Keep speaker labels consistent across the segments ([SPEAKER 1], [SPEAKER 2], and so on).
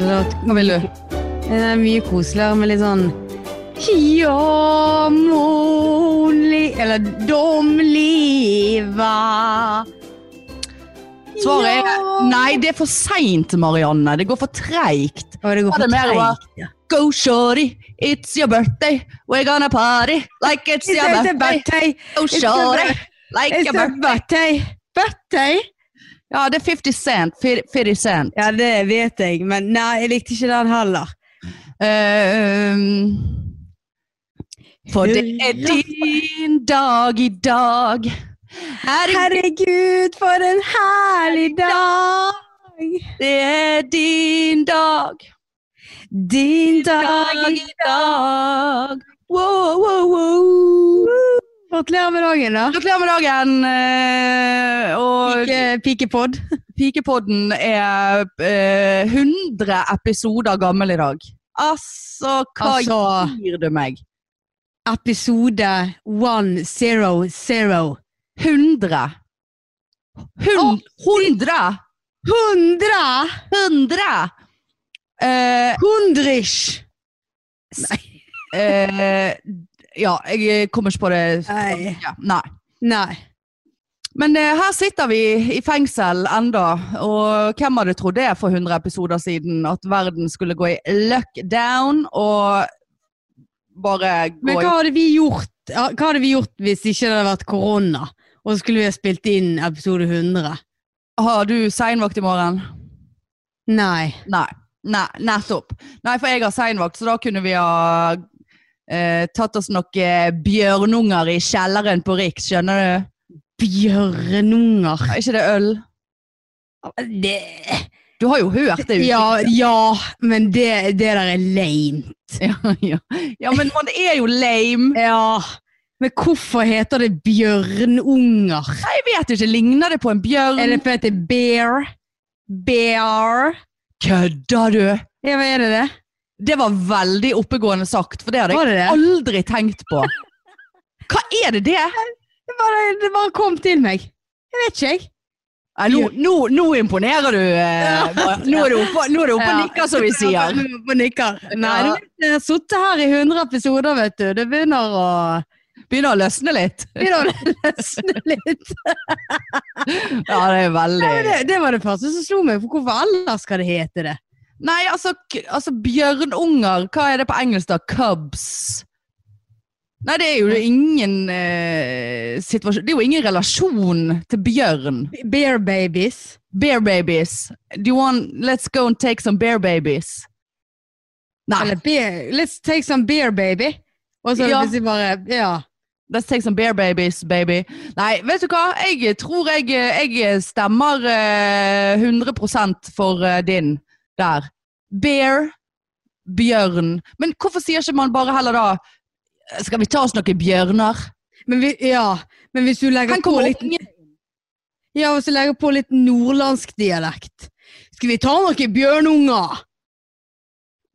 [SPEAKER 1] Hva vil du?
[SPEAKER 2] Det er mye koseligere med litt sånn Ja, mon li... Eller dom liva.
[SPEAKER 1] Svaret er nei, det er for seint, Marianne. Det går for treigt.
[SPEAKER 2] Å, det går
[SPEAKER 1] Ja, det
[SPEAKER 2] for
[SPEAKER 1] er mer hva?
[SPEAKER 2] treigt. ja.
[SPEAKER 1] Go shorty, it's your birthday. We're gonna party like it's
[SPEAKER 2] It's
[SPEAKER 1] your
[SPEAKER 2] a
[SPEAKER 1] birthday.
[SPEAKER 2] birthday.
[SPEAKER 1] Go
[SPEAKER 2] your
[SPEAKER 1] shorty,
[SPEAKER 2] birthday.
[SPEAKER 1] like
[SPEAKER 2] It's
[SPEAKER 1] your
[SPEAKER 2] a
[SPEAKER 1] birthday.
[SPEAKER 2] birthday. Birthday?
[SPEAKER 1] Ja, det er 50 cent. Fi- 50 cent.
[SPEAKER 2] Ja, det vet jeg, men nei, jeg likte ikke den heller.
[SPEAKER 1] Eh, um, for det er
[SPEAKER 2] Hurra.
[SPEAKER 1] din dag i dag. Herregud,
[SPEAKER 2] Herregud, for en herlig dag!
[SPEAKER 1] det er din dag.
[SPEAKER 2] Din dag
[SPEAKER 1] Dag
[SPEAKER 2] i
[SPEAKER 1] i dag. Wow, wow,
[SPEAKER 2] wow. Gratulerer med dagen, da.
[SPEAKER 1] Gratulerer med dagen. eh, Og
[SPEAKER 2] Pike- Pikepod.
[SPEAKER 1] Pikepodden er eh, 100 episoder gammel i dag. Altså, hva
[SPEAKER 2] Altså.
[SPEAKER 1] gir du meg?
[SPEAKER 2] Episode 100.
[SPEAKER 1] 100. Hun- 100!
[SPEAKER 2] 100!
[SPEAKER 1] 100! Eh,
[SPEAKER 2] Hundrish!
[SPEAKER 1] eh, ja, jeg kommer ikke på det.
[SPEAKER 2] Nei.
[SPEAKER 1] Ja, nei.
[SPEAKER 2] Nei.
[SPEAKER 1] Men eh, her sitter vi i fengsel enda, og hvem hadde trodd det for 100 episoder siden, at verden skulle gå i lockdown og bare gå
[SPEAKER 2] Men
[SPEAKER 1] i
[SPEAKER 2] hva hadde vi gjort, ja, hva hadde vi gjort hvis ikke det hadde vært korona? Og så skulle vi ha spilt inn episode 100?
[SPEAKER 1] Har du seinvakt i morgen?
[SPEAKER 2] Nei.
[SPEAKER 1] Nei. Nei, nettopp. Nei, for jeg har seinvakt, så da kunne vi ha eh, tatt oss noen bjørnunger i kjelleren på Rik, skjønner du?
[SPEAKER 2] Bjørnunger.
[SPEAKER 1] Er ikke det øl?
[SPEAKER 2] Det
[SPEAKER 1] Du har jo hørt det.
[SPEAKER 2] ja, ja, men det, det der er lame.
[SPEAKER 1] ja, ja. ja, men man er jo lame.
[SPEAKER 2] Ja. Men hvorfor heter det bjørnunger?
[SPEAKER 1] Nei, Jeg vet ikke, ligner det på en bjørn?
[SPEAKER 2] Er det fordi det er bear? Bear?
[SPEAKER 1] Kødder du?
[SPEAKER 2] Ja, hva er det det?
[SPEAKER 1] Det var veldig oppegående sagt, for det hadde
[SPEAKER 2] Var det
[SPEAKER 1] jeg
[SPEAKER 2] det?
[SPEAKER 1] aldri tenkt på. Hva er det det?
[SPEAKER 2] Det bare, det bare kom til meg. Jeg vet ikke, jeg.
[SPEAKER 1] Nei, nå, nå, nå imponerer du. eh, Mar- Nå er du oppe nå er du oppe og nikker, som vi sier.
[SPEAKER 2] På nikker. Nei,
[SPEAKER 1] Ja.
[SPEAKER 2] du, jeg har sittet her i 100 episoder, vet du. Det begynner å
[SPEAKER 1] Begynner å løsne litt.
[SPEAKER 2] begynner å løsne litt.
[SPEAKER 1] Ja, det er
[SPEAKER 2] Men
[SPEAKER 1] veldig
[SPEAKER 2] Det, det var det første som slo meg. For hvorfor ellers skal det hete det?
[SPEAKER 1] Nei, altså, k- altså bjørnunger Hva er det på engelsk, da? Cubs? Nei, det er jo ingen eh, situasjon Det er jo ingen relasjon til bjørn.
[SPEAKER 2] Bear babies.
[SPEAKER 1] Bear babies. Do you want Let's go and take some bear babies. Nei,
[SPEAKER 2] Eller bear, let's take some bear baby. Og så
[SPEAKER 1] Ja.
[SPEAKER 2] hvis vi bare Ja.
[SPEAKER 1] let's take some bear babies, baby. Nei, vet du hva? Jeg tror jeg, jeg stemmer eh, 100 for eh, din der. Bear, bjørn. Men hvorfor sier ikke man bare heller da Skal vi ta oss noen bjørner?
[SPEAKER 2] Men, vi, ja. Men hvis du legger
[SPEAKER 1] Kan
[SPEAKER 2] på
[SPEAKER 1] komme
[SPEAKER 2] litt
[SPEAKER 1] ungen
[SPEAKER 2] Ja, hvis du legger på litt nordlandsk dialekt. Skal vi ta noen bjørnunger?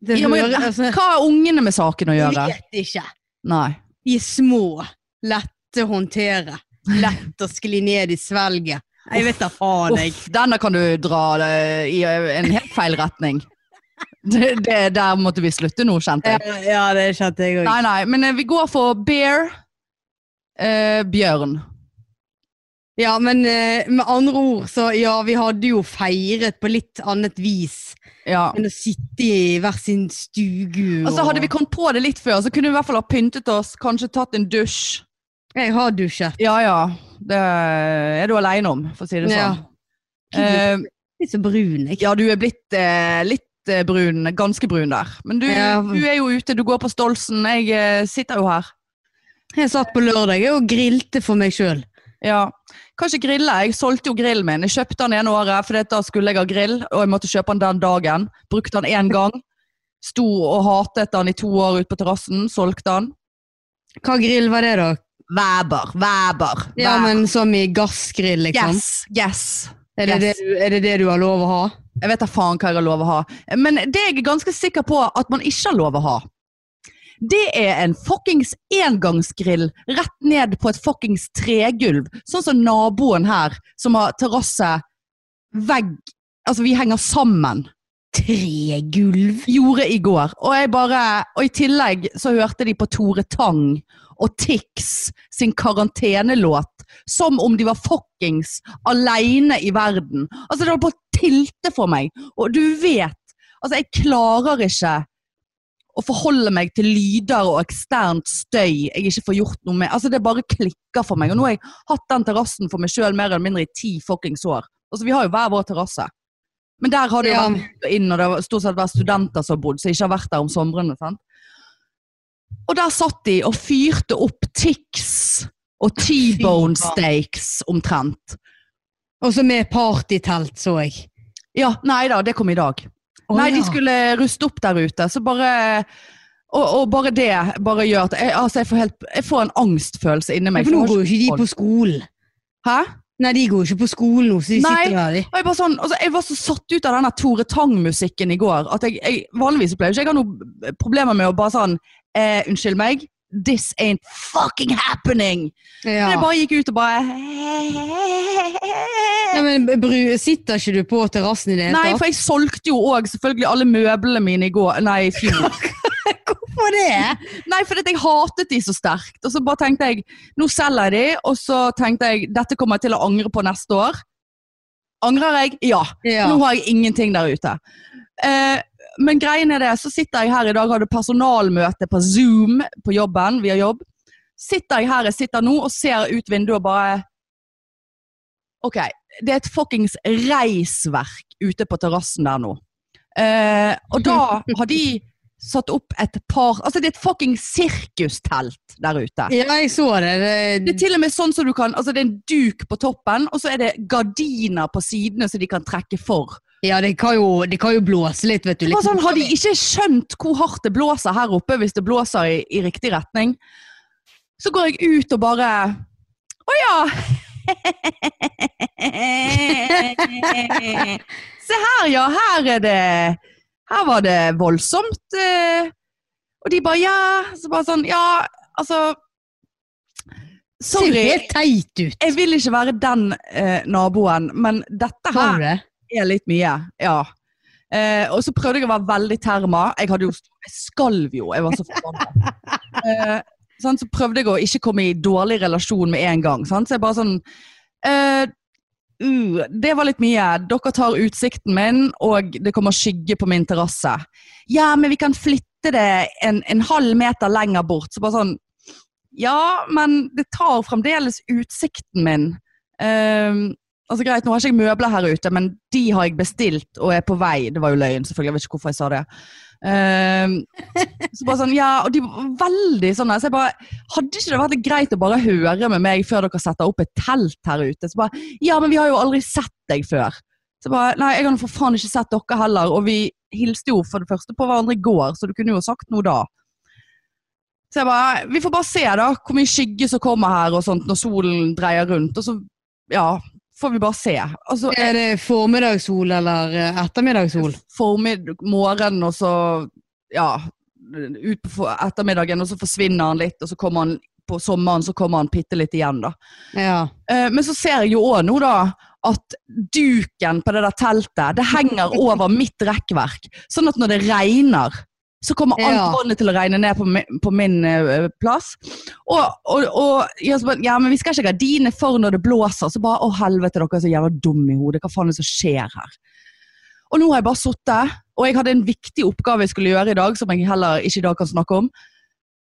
[SPEAKER 2] Det
[SPEAKER 1] ja, men,
[SPEAKER 2] hører- altså,
[SPEAKER 1] Hva har ungene med saken å gjøre?
[SPEAKER 2] Jeg vet ikke.
[SPEAKER 1] Nei.
[SPEAKER 2] De er små, lette å håndtere. Lett å skli ned i svelget. Jeg vet da faen, jeg.
[SPEAKER 1] Uff, denne kan du dra eh, i eh, en helt feil retning. Det, det, der måtte vi slutte nå, kjente jeg.
[SPEAKER 2] Ja, det kjente jeg
[SPEAKER 1] Nei, nei, men eh, vi går for bear, eh, bjørn.
[SPEAKER 2] Ja, men eh, med andre ord så Ja, vi hadde jo feiret på litt annet vis
[SPEAKER 1] Ja.
[SPEAKER 2] enn å sitte i hver sin stugu.
[SPEAKER 1] Altså, hadde vi kommet på det litt før, så kunne vi i hvert fall ha pyntet oss, kanskje tatt en dusj.
[SPEAKER 2] Jeg har dusjet.
[SPEAKER 1] Ja, ja. Det er du alene om, for å si det
[SPEAKER 2] Ja.
[SPEAKER 1] sånn. Eh,
[SPEAKER 2] Litt så brun, jeg.
[SPEAKER 1] ja, du er blitt eh, litt eh, brun, ganske brun der. Men du,
[SPEAKER 2] Ja.
[SPEAKER 1] du er jo ute, du går på Stolsen. Jeg eh, sitter jo her.
[SPEAKER 2] Jeg satt på lørdag og grilte for meg sjøl.
[SPEAKER 1] Ja. Kanskje grille. Jeg solgte jo grillen min. Jeg kjøpte den ene året, for da skulle jeg ha grill, og jeg måtte kjøpe den den dagen. Brukte den én gang. Sto og hatet den i to år ute på terrassen. Solgte den.
[SPEAKER 2] Hva grill var det, da?
[SPEAKER 1] Væber, væber.
[SPEAKER 2] Ja, men Som i gassgrill, liksom?
[SPEAKER 1] Yes, yes.
[SPEAKER 2] Er, det Det
[SPEAKER 1] yes.
[SPEAKER 2] du, er det det du har lov å ha?
[SPEAKER 1] Jeg vet da faen hva jeg har lov å ha. Men det jeg er ganske sikker på at man ikke har lov å ha, det er en fuckings engangsgrill rett ned på et fuckings tregulv. Sånn som naboen her, som har terrasse, vegg Altså, vi henger sammen.
[SPEAKER 2] Tregulv.
[SPEAKER 1] Gjorde i går. Og, jeg bare, og i tillegg så hørte de på Tore Tang og Tix sin karantenelåt som om de var fuckings aleine i verden. Altså, det holdt på å tilte for meg. Og du vet Altså, jeg klarer ikke å forholde meg til lyder og eksternt støy jeg ikke får gjort noe med. Altså, Det bare klikker for meg. Og nå har jeg hatt den terrassen for meg sjøl mer eller mindre i ti fuckings år. Altså, Vi har jo hver vår terrasse. Men der har det jo
[SPEAKER 2] Ja.
[SPEAKER 1] vært ut og inn, og det har stort sett vært studenter som har bodd, som ikke har vært der om somrene. sant? Og der satt de og fyrte opp Tix og
[SPEAKER 2] faen.
[SPEAKER 1] T-bone steaks omtrent.
[SPEAKER 2] Og så med partytelt, så jeg.
[SPEAKER 1] Ja, nei da, det kom i dag.
[SPEAKER 2] Å,
[SPEAKER 1] Nei, de
[SPEAKER 2] ja.
[SPEAKER 1] skulle ruste opp der ute, så bare og, og bare det bare gjør at jeg, altså jeg, får helt, jeg får en angstfølelse inni
[SPEAKER 2] Nei,
[SPEAKER 1] meg.
[SPEAKER 2] For nå
[SPEAKER 1] jeg
[SPEAKER 2] går
[SPEAKER 1] har
[SPEAKER 2] jo ikke de på skolen.
[SPEAKER 1] Hæ?
[SPEAKER 2] Nei, de går jo ikke på skolen nå, så de
[SPEAKER 1] Nei.
[SPEAKER 2] sitter der, de.
[SPEAKER 1] Og jeg, bare sånn, altså jeg var så satt ut av denne Tore Tang-musikken i går at jeg, jeg vanligvis pleier ikke jeg har noen problemer med å bare sånn eh, Unnskyld meg, this ain't fucking happening!
[SPEAKER 2] Ja.
[SPEAKER 1] Men jeg bare gikk ut og bare
[SPEAKER 2] Nei, men bru, sitter ikke du på terrassen i det
[SPEAKER 1] Nei, for jeg solgte jo òg selvfølgelig alle møblene mine i går. Nei, i fjor.
[SPEAKER 2] Hvorfor det?
[SPEAKER 1] Nei, fordi at jeg hatet de så sterkt. Og så bare tenkte jeg, nå selger jeg de, og så tenkte jeg, dette kommer jeg til å angre på neste år. Angrer jeg? Ja.
[SPEAKER 2] Ja.
[SPEAKER 1] Nå har jeg ingenting der ute. Eh, men greien er det, så sitter jeg her i dag, hadde personalmøte på Zoom på jobben, via jobb. Sitter jeg her jeg sitter nå og ser ut vinduet og bare Ok, det er et fuckings reisverk ute på terrassen der nå. Eh, og da har de satt opp et par Altså, det er et fuckings sirkustelt der ute.
[SPEAKER 2] ja, jeg så det.
[SPEAKER 1] Det
[SPEAKER 2] det,
[SPEAKER 1] er til og med sånn som du kan Altså, det er en duk på toppen, og så er det gardiner på sidene som de kan trekke for.
[SPEAKER 2] ja, det kan, jo, det kan jo blåse litt, vet du. Liksom,
[SPEAKER 1] Det
[SPEAKER 2] litt
[SPEAKER 1] var sånn, Har de ikke skjønt hvor hardt det blåser her oppe, hvis det blåser i, i riktig retning? Så går jeg ut og bare Å ja! Se her, ja. Her er det Her var det voldsomt. eh. Og de bare ja. Så bare sånn Ja, altså
[SPEAKER 2] Det ser jo
[SPEAKER 1] Sorry.
[SPEAKER 2] helt teit ut.
[SPEAKER 1] Jeg vil ikke være den eh, naboen, men dette her
[SPEAKER 2] Har du det?
[SPEAKER 1] er litt mye, ja. Eh, og så prøvde jeg å være veldig terma. Jeg hadde jo Jeg skalv jo, jeg var så forbanna. Eh, sant, så prøvde jeg å ikke komme i dårlig relasjon med en gang. Sant? Så jeg bare sånn eh, uh, Det var litt mye. Dere tar utsikten min, og det kommer skygge på min terrasse. Ja, men vi kan flytte det en, en halv meter lenger bort. Så bare sånn Ja, men det tar fremdeles utsikten min. Eh, Altså greit, Nå har ikke jeg møbler her ute, men de har jeg bestilt og er på vei. Det var jo løgn, selvfølgelig. Jeg vet ikke hvorfor jeg sa det. Ehm, så bare sånn, ja, og de var veldig sånn der, så jeg bare, Hadde ikke det vært litt greit å bare høre med meg før dere setter opp et telt her ute? Så bare Ja, men vi har jo aldri sett deg før. Så bare Nei, jeg har nå for faen ikke sett dere heller. Og vi hilste jo for det første på hverandre i går, så du kunne jo sagt noe da. Så jeg bare Vi får bare se, da, hvor mye skygge som kommer her og sånt når solen dreier rundt. Og så, ja får vi bare se. Altså,
[SPEAKER 2] Er det formiddagssol eller eh, ettermiddagssol?
[SPEAKER 1] formid morgen, og så ja, ut på for- ettermiddagen, og så forsvinner han litt, og så kommer han på sommeren, så kommer han bitte litt igjen, da.
[SPEAKER 2] Ja.
[SPEAKER 1] Eh, men så ser jeg jo òg nå, da, at duken på det der teltet, det henger over mitt rekkverk. Sånn at når det regner, så kommer alt
[SPEAKER 2] Ja.
[SPEAKER 1] vannet til å regne ned på min, på min eh, plass. Og, og, og ja, så bare, ja, men vi skal ikke ha gardiner for når det blåser. Så bare å helvete, dere er så jævla dumme i hodet. Hva faen er det som skjer her? Og nå har jeg bare sittet, og jeg hadde en viktig oppgave jeg skulle gjøre i dag, som jeg heller ikke i dag kan snakke om.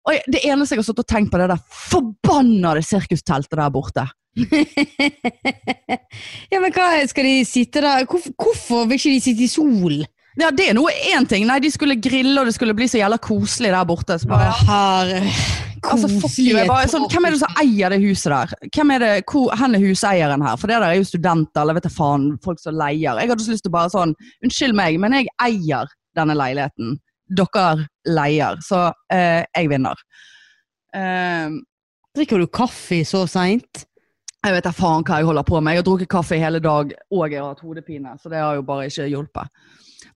[SPEAKER 1] Og jeg, det eneste jeg har sittet og tenkt på, det er det forbannede sirkusteltet der borte.
[SPEAKER 2] ja, men hva skal de sitte der Hvorfor, hvorfor vil ikke de sitte i solen?
[SPEAKER 1] Ja, det er noe én ting. Nei, de skulle grille, og det skulle bli så jævla koselig der borte. Så bare,
[SPEAKER 2] Her
[SPEAKER 1] altså, fuck you. Jeg bare, sånn, hvem er det som eier det huset der? Hvem er det, hvor, hen er huseieren her? For det der er jo studenter, eller vet jeg faen, folk som leier. Jeg hadde så lyst til å bare sånn Unnskyld meg, men jeg eier denne leiligheten. Dere leier. Så eh, jeg vinner. Eh,
[SPEAKER 2] Drikker du kaffe så seint?
[SPEAKER 1] jeg vet da faen hva jeg holder på med. Jeg har drukket kaffe i hele dag, og jeg har hatt hodepine. Så det har jo bare ikke hjulpet.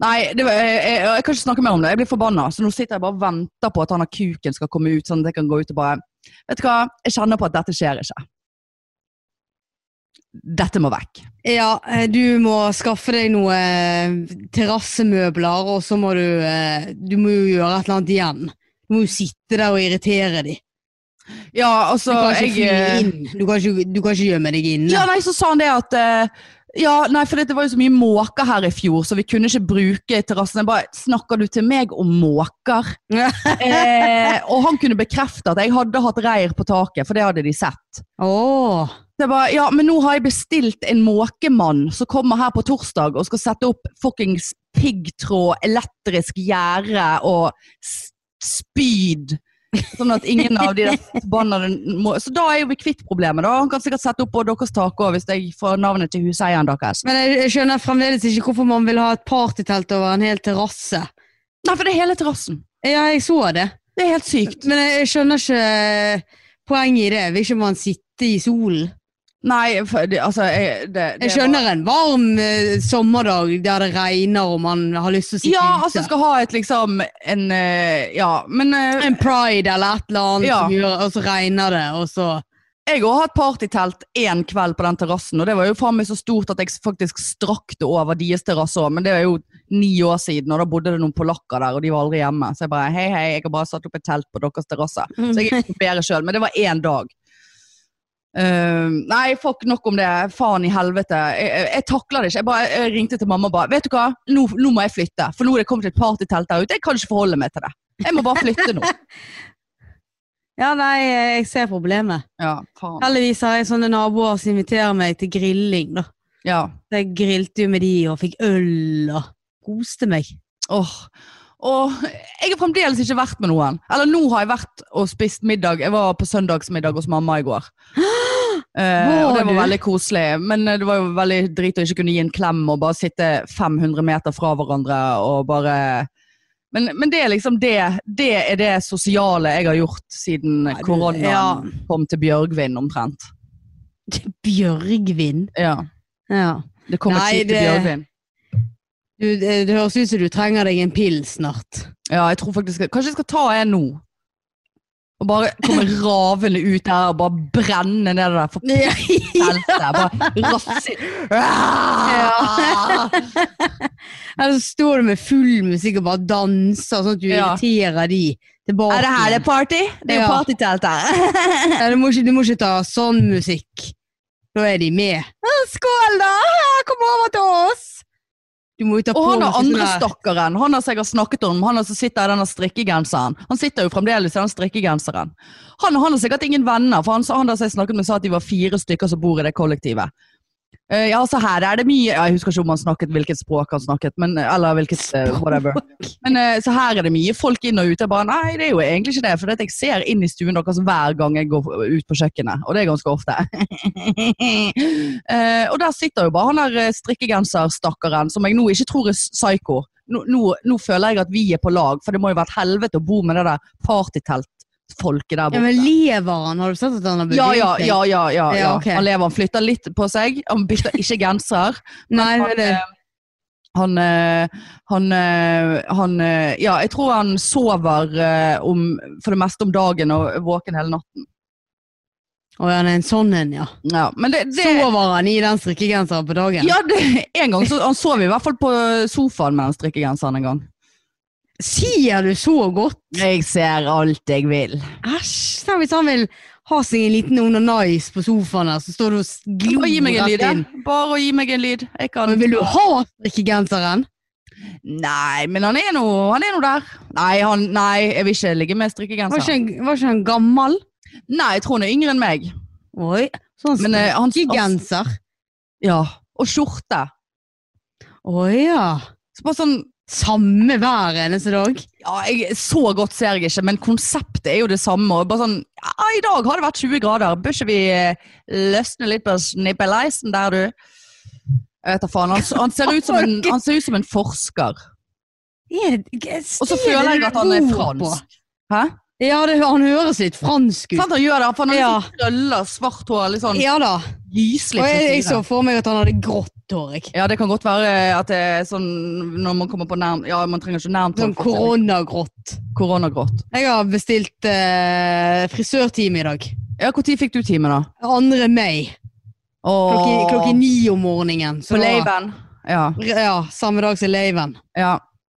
[SPEAKER 1] Nei, det var, jeg, jeg, jeg kan ikke snakke mer om det. Jeg blir forbanna. Så nå sitter jeg bare og venter på at han av kuken skal komme ut, sånn at jeg kan gå ut og bare Vet du hva, jeg kjenner på at dette skjer ikke. Dette må vekk.
[SPEAKER 2] Ja, eh, du må skaffe deg noe eh, terrassemøbler, og så må du eh, Du må jo gjøre et eller annet igjen. Du må jo sitte der og irritere dem.
[SPEAKER 1] Ja, altså
[SPEAKER 2] Du kan ikke
[SPEAKER 1] jeg, eh,
[SPEAKER 2] fly inn. Du kan ikke, du kan ikke gjemme deg inne.
[SPEAKER 1] Ja, nei, så sa han det at eh, Ja, nei, for det var jo så mye måker her i fjor, så vi kunne ikke bruke terrassen. Jeg bare Snakker du til meg om måker? eh, og han kunne bekrefte at jeg hadde hatt reir på taket, for det hadde de sett.
[SPEAKER 2] Åh.
[SPEAKER 1] Så jeg bare, ja, men nå har jeg bestilt en måkemann som kommer her på torsdag og skal sette opp fuckings piggtråd, elektrisk gjerde og s- spyd. Sånn at ingen av de der forbannede må Så da er jo vi kvitt problemet, da. Han kan sikkert sette opp på deres tak òg, hvis jeg får navnet til huseieren deres.
[SPEAKER 2] Men jeg, jeg skjønner fremdeles ikke hvorfor man vil ha et partytelt over en hel terrasse.
[SPEAKER 1] Nei, for det er hele terrassen.
[SPEAKER 2] Ja, jeg så det.
[SPEAKER 1] Det er helt sykt.
[SPEAKER 2] Men jeg, jeg skjønner ikke eh, poenget i det. Vil ikke man sitte i solen?
[SPEAKER 1] Nei, for, det, altså jeg, det, det
[SPEAKER 2] Jeg skjønner en varm eh, sommerdag der det regner og man har lyst til å
[SPEAKER 1] Var,
[SPEAKER 2] sitte
[SPEAKER 1] ja,
[SPEAKER 2] ute.
[SPEAKER 1] altså skal ha et liksom en eh, Ja, men eh,
[SPEAKER 2] en pride eller et eller annet,
[SPEAKER 1] Ja.
[SPEAKER 2] som gjør, og så regner det, og så
[SPEAKER 1] Jeg har hatt partytelt én kveld på den terrassen, og det var jo faen meg så stort at jeg faktisk strakk det over deres terrasse òg, men det er jo ni år siden, og da bodde det noen polakker der, og de var aldri hjemme. Så jeg bare hei, hei, jeg har bare satt opp et telt på deres terrasse. Så jeg er ikke bedre sjøl, men det var én dag. Ehm, nei, fuck nok om det. Faen i helvete. Jeg, jeg, jeg takler det ikke. Jeg, bare, jeg ringte til mamma og bare Vet du hva, nå, nå må jeg flytte, for nå er det kommet et partytelt der ute. Jeg kan ikke forholde meg til det. Jeg må bare flytte nå.
[SPEAKER 2] Ja, nei, jeg ser problemet.
[SPEAKER 1] Ja, faen.
[SPEAKER 2] Heldigvis har jeg sånne naboer som inviterer meg til grilling, da.
[SPEAKER 1] Ja.
[SPEAKER 2] Så jeg grilte jo med de og fikk øl og koste meg.
[SPEAKER 1] Åh, åh, jeg har fremdeles ikke vært med noen. Eller nå har jeg vært og spist middag. Jeg var på søndagsmiddag hos mamma i går. Eh, og
[SPEAKER 2] Var
[SPEAKER 1] det var
[SPEAKER 2] du?
[SPEAKER 1] veldig koselig, men eh, det var jo veldig drit å ikke kunne gi en klem og bare sitte 500 meter fra hverandre og bare Men, men det er liksom det Det er det sosiale jeg har gjort siden
[SPEAKER 2] du-
[SPEAKER 1] koronaen
[SPEAKER 2] ja.
[SPEAKER 1] kom til Bjørgvin, omtrent.
[SPEAKER 2] Bjørgvin.
[SPEAKER 1] Ja,
[SPEAKER 2] Ja.
[SPEAKER 1] det kom
[SPEAKER 2] Nei,
[SPEAKER 1] et skip til
[SPEAKER 2] det-
[SPEAKER 1] Bjørgvin.
[SPEAKER 2] Du, eh, det, det høres ut som du trenger deg en pill snart.
[SPEAKER 1] Ja, jeg tror faktisk Kanskje jeg skal ta en nå? Og bare komme ravende ut der og bare brenne ned det der for teltet. Bare rasse
[SPEAKER 2] Ja. Eller så står du med full musikk og bare danser, sånn at du
[SPEAKER 1] Ja.
[SPEAKER 2] irriterer de tilbake.
[SPEAKER 1] Er det her det
[SPEAKER 2] igjen.
[SPEAKER 1] er party? Det er jo
[SPEAKER 2] Ja.
[SPEAKER 1] partytelt her.
[SPEAKER 2] Ja, du, må ikke, du må ikke ta sånn musikk. Da er de med. Ja, Skål, da! Ja, Kom over til oss! Du må jo ta
[SPEAKER 1] Og han
[SPEAKER 2] noe
[SPEAKER 1] er andre
[SPEAKER 2] sånn der-
[SPEAKER 1] stakkaren. Han har sikkert snakket om Han er som sitter i denne strikkegenseren. Han sitter jo fremdeles i den strikkegenseren. Han, han har sikkert ingen venner, for han, sa- han der som jeg snakket med, sa at de var fire stykker som bor i det kollektivet. Eh, ja, så her er det mye ja, Jeg husker ikke om han snakket hvilket språk han snakket, men, eller hvilket eh, whatever. Men eh, så her er det mye folk inn og ut. Jeg bare, nei, det er jo egentlig ikke det. For jeg ser inn i stuen deres hver gang jeg går ut på kjøkkenet. Og det er ganske ofte. Eh, og der sitter jo bare han der eh, strikkegenserstakkaren, som jeg nå ikke tror er s- psyko. Nå, nå, nå føler jeg at vi er på lag, for det må jo være et helvete å bo med det der partyteltfolket der
[SPEAKER 2] Ja,
[SPEAKER 1] borte.
[SPEAKER 2] men lever han? Har du sett at han har beveget
[SPEAKER 1] Ja, ja, ja. ja, ja,
[SPEAKER 2] Ja,
[SPEAKER 1] ja.
[SPEAKER 2] ok.
[SPEAKER 1] Han lever, han flytter litt på seg. Han bytter ikke genser.
[SPEAKER 2] Nei,
[SPEAKER 1] han,
[SPEAKER 2] men det,
[SPEAKER 1] eh, Han, eh, han, eh, han eh, Ja, jeg tror han sover eh, om, for det meste om dagen og er våken hele natten.
[SPEAKER 2] Å, han er en sånn en, ja.
[SPEAKER 1] Ja, men eh, det, det
[SPEAKER 2] Sover han i den strikkegenseren på dagen?
[SPEAKER 1] ja, det, en gang så, Han sov i hvert fall på sofaen med den strikkegenseren en gang.
[SPEAKER 2] Sier du så godt?
[SPEAKER 1] Jeg ser alt jeg vil.
[SPEAKER 2] Æsj! Tenk hvis han vil ha seg en liten onanais på sofaen her, så står du og s- glor
[SPEAKER 1] Bare gi meg en
[SPEAKER 2] rett
[SPEAKER 1] lyd.
[SPEAKER 2] inn.
[SPEAKER 1] jeg. Bare å gi meg en lyd. Jeg kan
[SPEAKER 2] Men vil du ha strikkegenseren?
[SPEAKER 1] Nei, men han er nå han er nå der. Nei, han, nei, jeg vil ikke ligge med
[SPEAKER 2] Var
[SPEAKER 1] strikkegenser.
[SPEAKER 2] ikke han, var ikke han gammel?
[SPEAKER 1] Nei, jeg tror han er yngre enn meg.
[SPEAKER 2] Oi. Sånn
[SPEAKER 1] Men eh, han, han
[SPEAKER 2] strikkegenser.
[SPEAKER 1] Ja. Og skjorte.
[SPEAKER 2] Å ja.
[SPEAKER 1] Så bare sånn
[SPEAKER 2] Samme hver eneste dag?
[SPEAKER 1] Ja, jeg, så godt ser jeg ikke, men konseptet er jo det samme. Og bare sånn, ja, I dag har det vært 20 grader, bør ikke vi eh, løsne litt på snippeleisen der, du? Jeg vet da faen. Han, han, ser ut som en, han ser ut som en forsker.
[SPEAKER 2] Er det,
[SPEAKER 1] Og så føler jeg at han er fransk. Hæ?
[SPEAKER 2] Ja, det, han høres litt fransk ut.
[SPEAKER 1] Sant han gjør det? For han har
[SPEAKER 2] Ja.
[SPEAKER 1] litt sånn krøller, svart hår, litt sånn
[SPEAKER 2] Ja da. Og
[SPEAKER 1] gyselig
[SPEAKER 2] jeg, jeg så
[SPEAKER 1] frisyre.
[SPEAKER 2] for meg at han hadde grått hår. jeg.
[SPEAKER 1] Ja, det kan godt være at det er sånn når man kommer på nærm... Ja, man trenger ikke nærmt
[SPEAKER 2] Sånn koronagrått.
[SPEAKER 1] koronagrått.
[SPEAKER 2] Jeg har bestilt eh, frisørtime i dag.
[SPEAKER 1] Ja, når fikk du time, da?
[SPEAKER 2] Andre mai.
[SPEAKER 1] Å, Og
[SPEAKER 2] Klokken, klokken ni om morgenen. Så
[SPEAKER 1] på
[SPEAKER 2] da-
[SPEAKER 1] laven. Ja.
[SPEAKER 2] Ja, samme dag som laven.
[SPEAKER 1] Ja.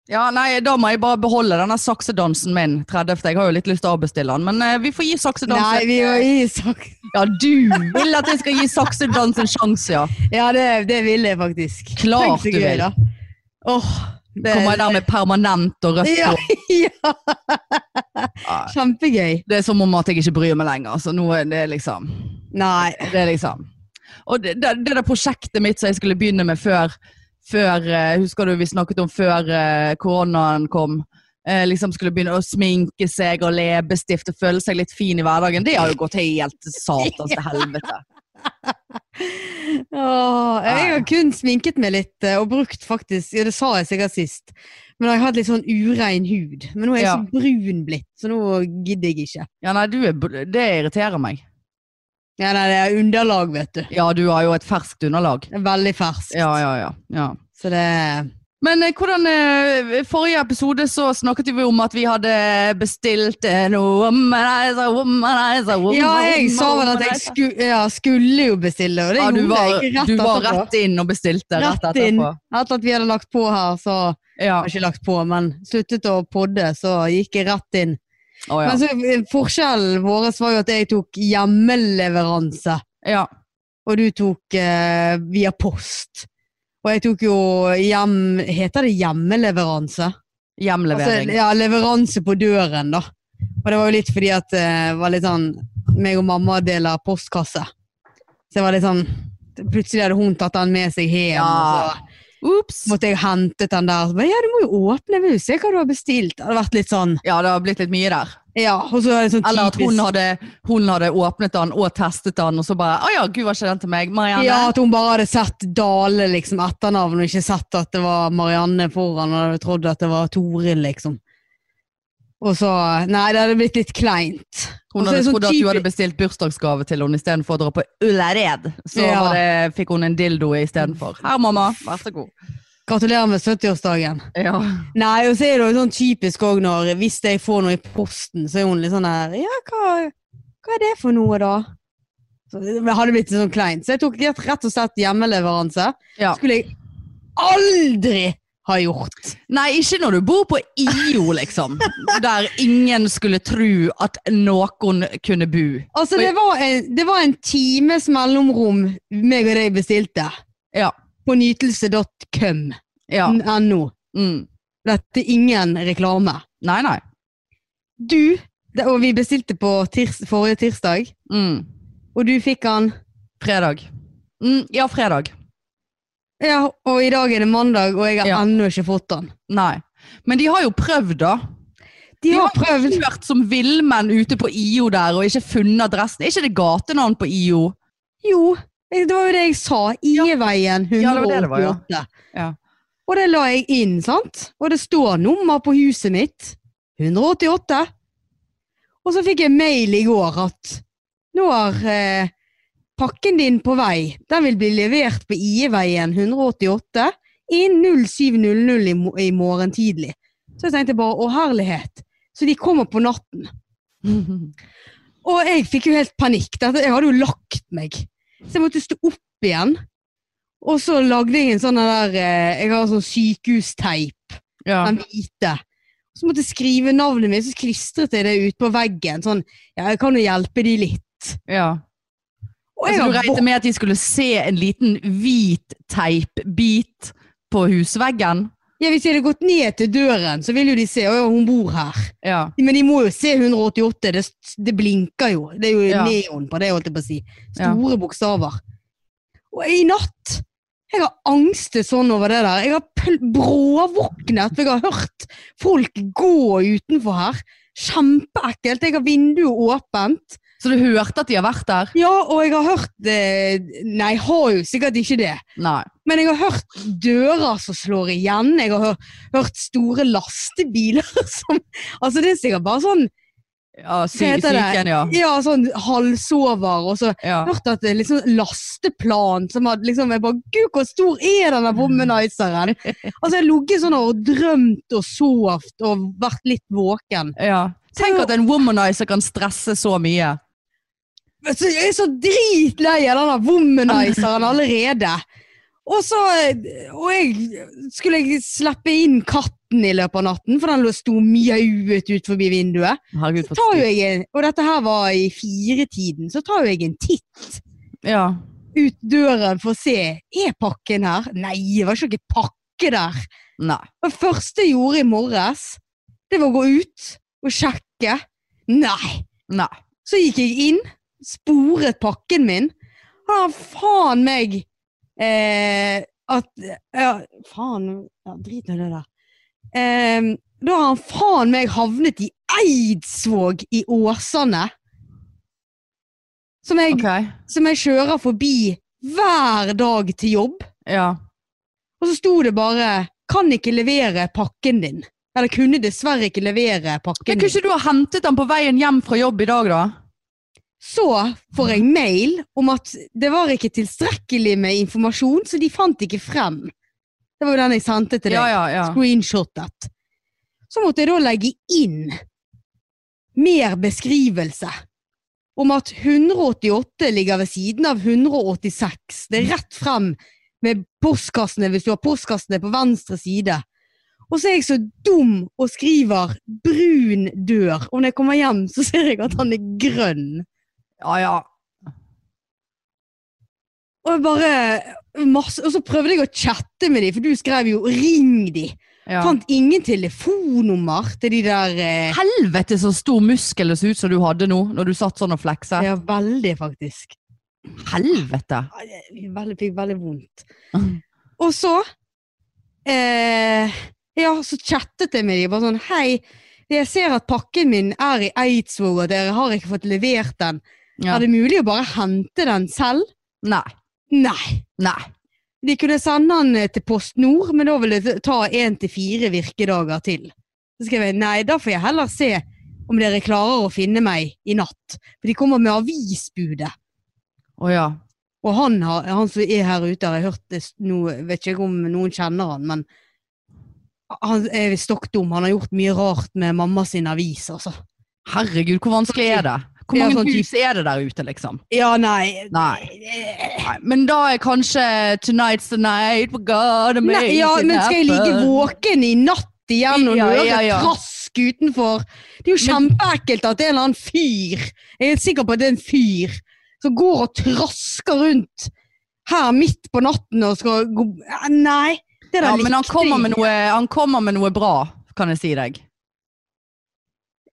[SPEAKER 1] ja, nei, da må jeg bare beholde denne saksedansen min 30. Jeg har jo litt lyst til å avbestille den, men eh, vi får gi
[SPEAKER 2] Nei,
[SPEAKER 1] saksedansen
[SPEAKER 2] vi var i sak...
[SPEAKER 1] Ja, du vil at jeg skal gi saksedans en sjanse, ja.
[SPEAKER 2] Ja, det, det vil jeg faktisk. Tenk
[SPEAKER 1] Klart
[SPEAKER 2] så
[SPEAKER 1] du vil.
[SPEAKER 2] da. Åh, det-
[SPEAKER 1] Kommer jeg der med permanent og rødt
[SPEAKER 2] Ja,
[SPEAKER 1] hår.
[SPEAKER 2] ja,
[SPEAKER 1] Ja.
[SPEAKER 2] kjempegøy.
[SPEAKER 1] Det er som om at jeg ikke bryr meg lenger. Så nå er det liksom
[SPEAKER 2] Nei.
[SPEAKER 1] Det er liksom. Og det, det, det der prosjektet mitt som jeg skulle begynne med før, før eh, Husker du vi snakket om før eh, koronaen kom? Eh, liksom skulle begynne å sminke seg og leppestift og føle seg litt fin i hverdagen. Det har jo gått helt til satans til helvete.
[SPEAKER 2] Åh, jeg har kun sminket meg litt eh, og brukt faktisk, ja, det sa jeg sikkert sist, men jeg har hatt litt sånn urein hud. Men nå er jeg
[SPEAKER 1] Ja.
[SPEAKER 2] så brun blitt, så nå gidder jeg ikke.
[SPEAKER 1] Ja, nei, du er, bl- det irriterer meg.
[SPEAKER 2] Ja, nei, det er underlag, vet du.
[SPEAKER 1] Ja, du har jo et ferskt underlag.
[SPEAKER 2] Det er veldig ferskt.
[SPEAKER 1] Ja, ja, ja. ja.
[SPEAKER 2] Så det
[SPEAKER 1] Men eh, hvordan eh, Forrige episode så snakket vi om at vi hadde bestilt en womanizer, womanizer, womanizer.
[SPEAKER 2] Ja, jeg sa vel at jeg
[SPEAKER 1] womanizer.
[SPEAKER 2] skulle, ja, skulle jo bestille, og det
[SPEAKER 1] Ja, du
[SPEAKER 2] gjorde
[SPEAKER 1] var,
[SPEAKER 2] jeg rett
[SPEAKER 1] du var
[SPEAKER 2] etterpå.
[SPEAKER 1] rett inn og bestilte rett,
[SPEAKER 2] Rett inn.
[SPEAKER 1] etterpå.
[SPEAKER 2] Etter at vi hadde lagt på her, så
[SPEAKER 1] Ja.
[SPEAKER 2] jeg har ikke lagt på, men sluttet å podde, så gikk jeg rett inn.
[SPEAKER 1] Å, ja.
[SPEAKER 2] Men så eh, forskjellen vår var jo at jeg tok hjemmeleveranse,
[SPEAKER 1] ja.
[SPEAKER 2] og du tok eh, via post. Og jeg tok jo hjem Heter det hjemmeleveranse?
[SPEAKER 1] Hjemlevering.
[SPEAKER 2] Altså, ja, leveranse på døren, da. Og det var jo litt fordi at det var litt sånn meg og mamma deler postkasse. Så det var litt sånn Plutselig hadde hun tatt den med seg hjem,
[SPEAKER 1] Ja.
[SPEAKER 2] og
[SPEAKER 1] Ops!
[SPEAKER 2] så måtte jeg hente den der. Så bare, ja, du må jo åpne, vi vil se hva du har bestilt. Det hadde vært litt sånn
[SPEAKER 1] Ja, det har blitt litt mye der.
[SPEAKER 2] Ja, og så er det sånn typisk
[SPEAKER 1] Eller at hun hadde, hun hadde åpnet den og testet den, og så bare Å ja, gud, var ikke den til meg? Marianne?
[SPEAKER 2] Ja, at hun bare hadde sett Dale liksom etternavn, og ikke sett at det var Marianne foran, og hadde trodd at det var Toril, liksom. Og så Nei, det hadde blitt litt kleint. Og
[SPEAKER 1] Hun
[SPEAKER 2] så er
[SPEAKER 1] hadde
[SPEAKER 2] det sånn
[SPEAKER 1] trodd at du hadde
[SPEAKER 2] typisk-
[SPEAKER 1] bestilt bursdagsgave til henne istedenfor å dra på Ullared. Så
[SPEAKER 2] Ja.
[SPEAKER 1] var det, fikk hun en dildo istedenfor. Her, mamma. Vær så god.
[SPEAKER 2] Gratulerer med 70-årsdagen.
[SPEAKER 1] Ja.
[SPEAKER 2] Nei, og så er det jo sånn typisk òg når Hvis jeg får noe i posten, så er hun litt sånn her Ja, hva, hva er det for noe, da? Så det hadde blitt sånn kleint. Så jeg tok rett rett og slett hjemmeleveranse.
[SPEAKER 1] Ja.
[SPEAKER 2] Skulle jeg aldri ha gjort.
[SPEAKER 1] Nei, ikke når du bor på IO, liksom. Der ingen skulle tro at noen kunne bo.
[SPEAKER 2] Altså, det var en, det var en times mellomrom meg og deg bestilte.
[SPEAKER 1] Ja.
[SPEAKER 2] På nytelse.com.
[SPEAKER 1] Ja.
[SPEAKER 2] NO.
[SPEAKER 1] Mm.
[SPEAKER 2] Dette er ingen reklame.
[SPEAKER 1] Nei, nei.
[SPEAKER 2] Du, det, og vi bestilte på tirs, forrige tirsdag,
[SPEAKER 1] Mm.
[SPEAKER 2] og du fikk den.
[SPEAKER 1] Fredag. Mm, ja, fredag.
[SPEAKER 2] Ja, og i dag er det mandag, og jeg har
[SPEAKER 1] Ja.
[SPEAKER 2] ennå ikke fått den.
[SPEAKER 1] Nei. Men de har jo prøvd, da.
[SPEAKER 2] De har
[SPEAKER 1] jo
[SPEAKER 2] prøvd.
[SPEAKER 1] Kjørt som villmenn ute på IO der og ikke funnet adressen. Er ikke det gatenavn på IO?
[SPEAKER 2] Jo, det var jo det jeg sa. Ieveien
[SPEAKER 1] Ja, det var det det var, ja.
[SPEAKER 2] 188.
[SPEAKER 1] Ja.
[SPEAKER 2] Og det la jeg inn, sant? Og det står nummer på huset mitt. 188. Og så fikk jeg mail i går at nå er eh, pakken din på vei. Den vil bli levert på Ieveien 188 innen 07.00 i, mo i morgen tidlig. Så jeg tenkte bare å herlighet. Så de kommer på natten. Og jeg fikk jo helt panikk. Dette, jeg hadde jo lagt meg. Så jeg måtte stå opp igjen. Og så lagde jeg en sånn der eh, Jeg har sånn sykehusteip,
[SPEAKER 1] ja.
[SPEAKER 2] den hvite. Så måtte jeg skrive navnet mitt, så klistret jeg det ut på veggen. Sånn Ja, jeg kan jo hjelpe de litt.
[SPEAKER 1] ja.
[SPEAKER 2] Og jeg
[SPEAKER 1] Altså, du
[SPEAKER 2] har
[SPEAKER 1] regnet med at de skulle se en liten hvit teipbit på husveggen?
[SPEAKER 2] våk- ja, hvis jeg hadde gått ned til døren, så ville jo de se Å ja, hun bor her.
[SPEAKER 1] Ja.
[SPEAKER 2] Men de må jo se 188. Det, det blinker jo. Det er jo
[SPEAKER 1] Ja.
[SPEAKER 2] neon på det, holdt jeg på å si.
[SPEAKER 1] Ja.
[SPEAKER 2] Store bokstaver. Og i natt Jeg har angstet sånn over det der. Jeg har pl- bråvåknet, for jeg har hørt folk gå utenfor her. Kjempeekkelt. Jeg har vinduet åpent.
[SPEAKER 1] Så du hørte at de har vært der?
[SPEAKER 2] Ja, og jeg har hørt eh, Nei, jeg har jo sikkert ikke det.
[SPEAKER 1] Nei.
[SPEAKER 2] Men jeg har hørt dører som slår igjen. Jeg har hør- hørt store lastebiler som Altså, det er sikkert bare sånn
[SPEAKER 1] Ja, sy
[SPEAKER 2] Hva heter det?
[SPEAKER 1] syken, ja.
[SPEAKER 2] Ja, sånn halvsover, og så
[SPEAKER 1] ja.
[SPEAKER 2] hørt at det er liksom lasteplan som hadde liksom Jeg bare Gud, hvor stor er denne womanizeren? Altså, jeg har ligget sånn og drømt og sovet og vært litt våken.
[SPEAKER 1] Ja. Tenk at en womanizer kan stresse så mye.
[SPEAKER 2] Altså, jeg er så dritlei av denne womanizeren allerede. Og så eh, Og jeg skulle jeg slippe inn katten i løpet av natten, for den lå- sto mjauet ut forbi vinduet. Så
[SPEAKER 1] Herregud, for
[SPEAKER 2] tar jo
[SPEAKER 1] et
[SPEAKER 2] jeg en, og dette her var i firetiden, så tar jo jeg en titt
[SPEAKER 1] styr. Ja.
[SPEAKER 2] ut døren for å se. Er pakken her? Nei, det var ikke noen pakke der.
[SPEAKER 1] Nei.
[SPEAKER 2] Det første jeg gjorde i morges, det var å gå ut og sjekke. Nei!
[SPEAKER 1] Nei.
[SPEAKER 2] Så gikk jeg inn, sporet pakken min. Han faen meg eh, at ja, Faen, ja, drit nå i det der. Ehm, da har han faen meg havnet i Eidsvåg i Åsane. Som jeg,
[SPEAKER 1] Ok.
[SPEAKER 2] som jeg kjører forbi hver dag til jobb.
[SPEAKER 1] Ja.
[SPEAKER 2] Og så sto det bare 'Kan ikke levere pakken din'. Eller kunne dessverre ikke levere
[SPEAKER 1] Men
[SPEAKER 2] pakken
[SPEAKER 1] kunne
[SPEAKER 2] din.
[SPEAKER 1] ikke du ha hentet den på veien hjem fra jobb i dag, da?
[SPEAKER 2] Så får jeg mail om at det var ikke tilstrekkelig med informasjon, så de fant ikke frem. Det var jo den jeg sendte til deg.
[SPEAKER 1] Ja, ja, ja.
[SPEAKER 2] Screenshotet. Så måtte jeg da legge inn mer beskrivelse om at 188 ligger ved siden av 186. Det er rett frem med postkassene hvis du har postkassene på venstre side. Og så er jeg så dum og skriver 'brun dør'. Og når jeg kommer hjem, så ser jeg at han er grønn.
[SPEAKER 1] Ja, ja.
[SPEAKER 2] Og jeg bare masse, Og så prøvde jeg å chatte med dem, for du skrev jo 'ring de'.
[SPEAKER 1] ja.
[SPEAKER 2] Fant ingen telefonnummer til de der eh,
[SPEAKER 1] Helvete så stor muskel det så ut som du hadde nå, når du satt sånn og flekset.
[SPEAKER 2] Ja, veldig, faktisk.
[SPEAKER 1] Helvete!
[SPEAKER 2] Ja, det- jeg Veldig, fikk veldig vondt. Og så eh, Ja, så chattet jeg med dem. Bare sånn 'Hei, jeg ser at pakken min er i Eidsvåg, og dere har ikke fått levert den.
[SPEAKER 1] Ja.
[SPEAKER 2] Er det mulig å bare hente den selv?'
[SPEAKER 1] Nei.
[SPEAKER 2] Nei.
[SPEAKER 1] Nei.
[SPEAKER 2] De kunne sende den eh, til Post Nord, men da vil det ta én til fire virkedager til. Så skrev jeg nei, da får jeg heller se om dere klarer å finne meg i natt. For de kommer med avisbudet.
[SPEAKER 1] Å ja.
[SPEAKER 2] Og han, har, han som er her ute, har jeg hørt det s- noe, vet ikke om noen kjenner han, men han er stokkdum. Han har gjort mye rart med mamma sin avis, altså.
[SPEAKER 1] Herregud, hvor vanskelig er det? Hvor
[SPEAKER 2] Ja,
[SPEAKER 1] mange
[SPEAKER 2] sånn
[SPEAKER 1] hus er det der ute, liksom?
[SPEAKER 2] Ja, nei.
[SPEAKER 1] Nei. Nei. Men da er kanskje 'Tonight's the night'. We're gonna make
[SPEAKER 2] Nei, ja,
[SPEAKER 1] it
[SPEAKER 2] men skal jeg ligge
[SPEAKER 1] happen.
[SPEAKER 2] våken i natt igjen og
[SPEAKER 1] Ja,
[SPEAKER 2] høre
[SPEAKER 1] ja, ja.
[SPEAKER 2] trask utenfor? Det er jo kjempeekkelt at det er en eller annen fyr Jeg er helt sikker på at det er en fyr som går og trasker rundt her midt på natten og skal gå Ja, Nei, det der
[SPEAKER 1] Ja, men han kommer, med noe, han kommer med noe bra, kan jeg si deg.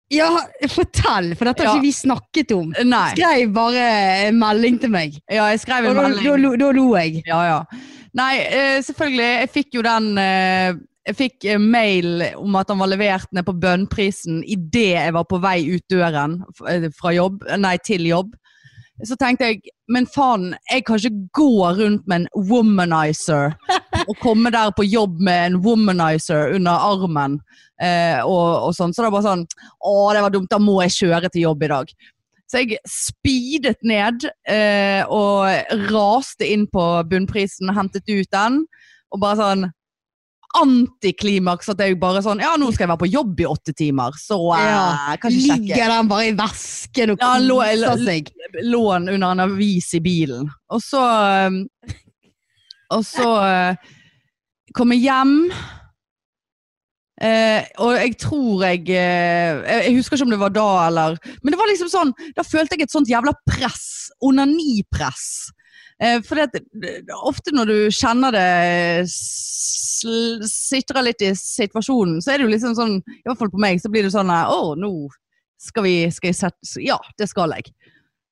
[SPEAKER 2] Ja, fortell, for dette har
[SPEAKER 1] Ja.
[SPEAKER 2] ikke vi snakket om.
[SPEAKER 1] Nei.
[SPEAKER 2] Skrev bare en melding til meg,
[SPEAKER 1] Ja, jeg skrev
[SPEAKER 2] og
[SPEAKER 1] en
[SPEAKER 2] da, da,
[SPEAKER 1] melding.
[SPEAKER 2] lo- da lo jeg.
[SPEAKER 1] Ja, ja. Nei, eh, selvfølgelig. Jeg fikk jo den eh, Jeg fikk eh, mail om at han var levert ned på Bønnprisen idet jeg var på vei ut døren f- eh, fra jobb, nei, til jobb. Så tenkte jeg men faen, jeg kan ikke gå rundt med en womanizer og komme der på jobb med en womanizer under armen. Eh, og, og sånn. Så det var bare sånn Å, det var dumt, da må jeg kjøre til jobb i dag. Så jeg speedet ned eh, og raste inn på bunnprisen, hentet ut den. Og bare sånn antiklimaks at jeg bare sånn Ja, nå skal jeg være på jobb i åtte timer, så eh,
[SPEAKER 2] Ja,
[SPEAKER 1] kan ikke sjekke.
[SPEAKER 2] Ligger den bare i vesken og
[SPEAKER 1] Ja, han lå-
[SPEAKER 2] koser seg?
[SPEAKER 1] lån under en avis i bilen. Og så eh, øhm, Og så øh, kom jeg hjem. Eh, og jeg tror jeg eh, Jeg jeg husker ikke om det var da eller Men det var liksom sånn Da følte jeg et sånt jævla press. Onanipress. Eh, for det, at- ofte når du kjenner det sl- sitrer litt i situasjonen, så er det jo liksom sånn I hvert fall på meg så blir det sånn eh, Å, nå skal vi skal jeg sette Ja, det skal jeg.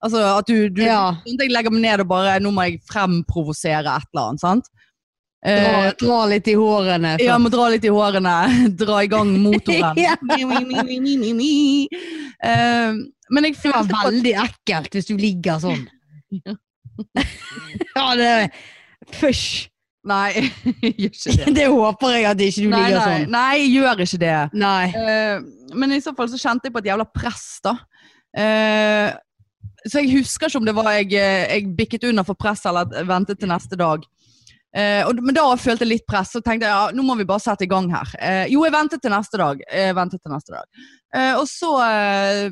[SPEAKER 1] Altså Sånn at du, du
[SPEAKER 2] Ja.
[SPEAKER 1] Jeg legger meg ned og bare Nå må jeg fremprovosere et eller annet, sant?
[SPEAKER 2] Dra,
[SPEAKER 1] Eh,
[SPEAKER 2] dra litt i hårene.
[SPEAKER 1] ja, må dra litt i hårene. Dra i gang motoren.
[SPEAKER 2] Ja.
[SPEAKER 1] Eh, men jeg
[SPEAKER 2] Det var
[SPEAKER 1] følte på at
[SPEAKER 2] veldig ekkelt hvis du ligger sånn. ja, det Fysj!
[SPEAKER 1] Nei, gjør ikke det.
[SPEAKER 2] Det håper jeg at ikke du
[SPEAKER 1] Nei,
[SPEAKER 2] ligger
[SPEAKER 1] nei,
[SPEAKER 2] sånn.
[SPEAKER 1] nei, gjør ikke det.
[SPEAKER 2] Nei.
[SPEAKER 1] Eh, men i så fall så kjente jeg på et jævla press, da. Eh, så jeg husker ikke om det var jeg, eh, jeg bikket under for press eller at- ventet til neste dag. Eh, og, men da følte jeg litt press, så tenkte jeg ja, nå må vi bare sette i gang her. Eh, jo, jeg ventet til neste dag. Jeg ventet til neste dag. Eh, og så, eh,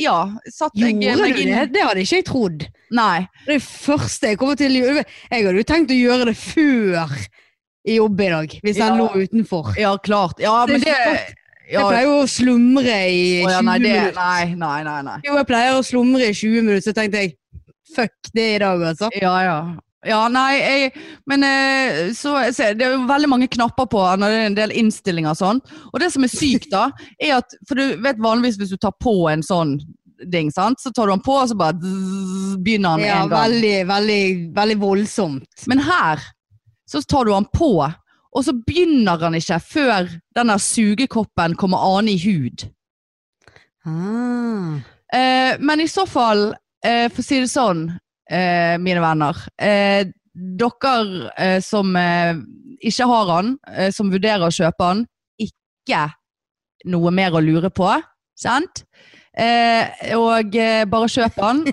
[SPEAKER 1] ja satt jeg
[SPEAKER 2] Gjorde
[SPEAKER 1] meg
[SPEAKER 2] du
[SPEAKER 1] inn-
[SPEAKER 2] det? Det hadde ikke jeg trodd.
[SPEAKER 1] Nei.
[SPEAKER 2] Det er det første jeg kommer til å gjøre. Jeg hadde jo tenkt å gjøre det før i jobb i dag, hvis
[SPEAKER 1] Ja.
[SPEAKER 2] jeg lå utenfor.
[SPEAKER 1] Ja, klart. Ja,
[SPEAKER 2] Det er
[SPEAKER 1] men det
[SPEAKER 2] ikke
[SPEAKER 1] ja,
[SPEAKER 2] Jeg pleier jo å slumre i
[SPEAKER 1] å,
[SPEAKER 2] 20
[SPEAKER 1] ja, nei, det,
[SPEAKER 2] minutter.
[SPEAKER 1] nei, nei, nei, nei.
[SPEAKER 2] Jo, jeg pleier å slumre i 20 minutter, så tenkte jeg fuck det i dag, altså.
[SPEAKER 1] Ja, ja. Ja, nei, jeg, men eh, så, så Det er jo veldig mange knapper på når det er en del innstillinger og sånn. Og det som er sykt, da, er at For du vet vanligvis hvis du tar på en sånn ding, sant? så tar du den på, og så bare dzz, begynner den med
[SPEAKER 2] Ja,
[SPEAKER 1] en gang.
[SPEAKER 2] veldig, veldig, veldig voldsomt.
[SPEAKER 1] Men her så tar du han på, og så begynner han ikke før denne sugekoppen kommer an i hud.
[SPEAKER 2] Ah.
[SPEAKER 1] Eh, men i så fall, eh, for å si det sånn, eh, mine venner eh, Dere eh, som eh, ikke har han, eh, som vurderer å kjøpe han, ikke noe mer å lure på. Sant? Eh, og eh, bare kjøp han.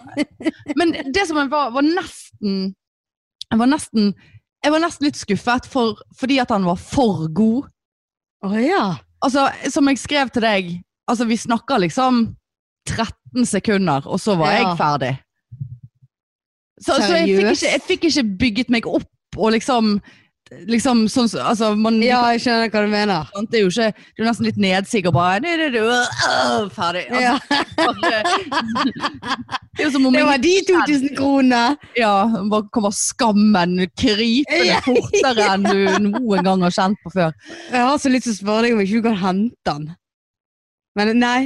[SPEAKER 1] Men det som jeg var, var nesten Jeg var nesten jeg var nesten litt skuffet for, fordi at han var for god.
[SPEAKER 2] Å ja.
[SPEAKER 1] Altså, som jeg skrev til deg, altså vi snakker liksom 13 sekunder, og så var
[SPEAKER 2] Ja.
[SPEAKER 1] jeg ferdig. Så, så jeg, fikk
[SPEAKER 2] Seriøst?
[SPEAKER 1] ikke, jeg fikk ikke bygget meg opp og liksom, liksom sånn som altså, man,
[SPEAKER 2] Ja, jeg skjønner hva du mener.
[SPEAKER 1] sant, Det er jo ikke, det er jo nesten litt nedsig og bare «Nei, det, det, øh, Ferdig. Altså,
[SPEAKER 2] Ja,
[SPEAKER 1] bare, det er jo som om
[SPEAKER 2] det
[SPEAKER 1] jeg
[SPEAKER 2] var de 2000 kronene!
[SPEAKER 1] ja, bare kommer skammen krypende
[SPEAKER 2] Ja.
[SPEAKER 1] fortere enn du noen gang har kjent på før.
[SPEAKER 2] Jeg har så lyst til å spørre deg om ikke du kan hente den. Men nei.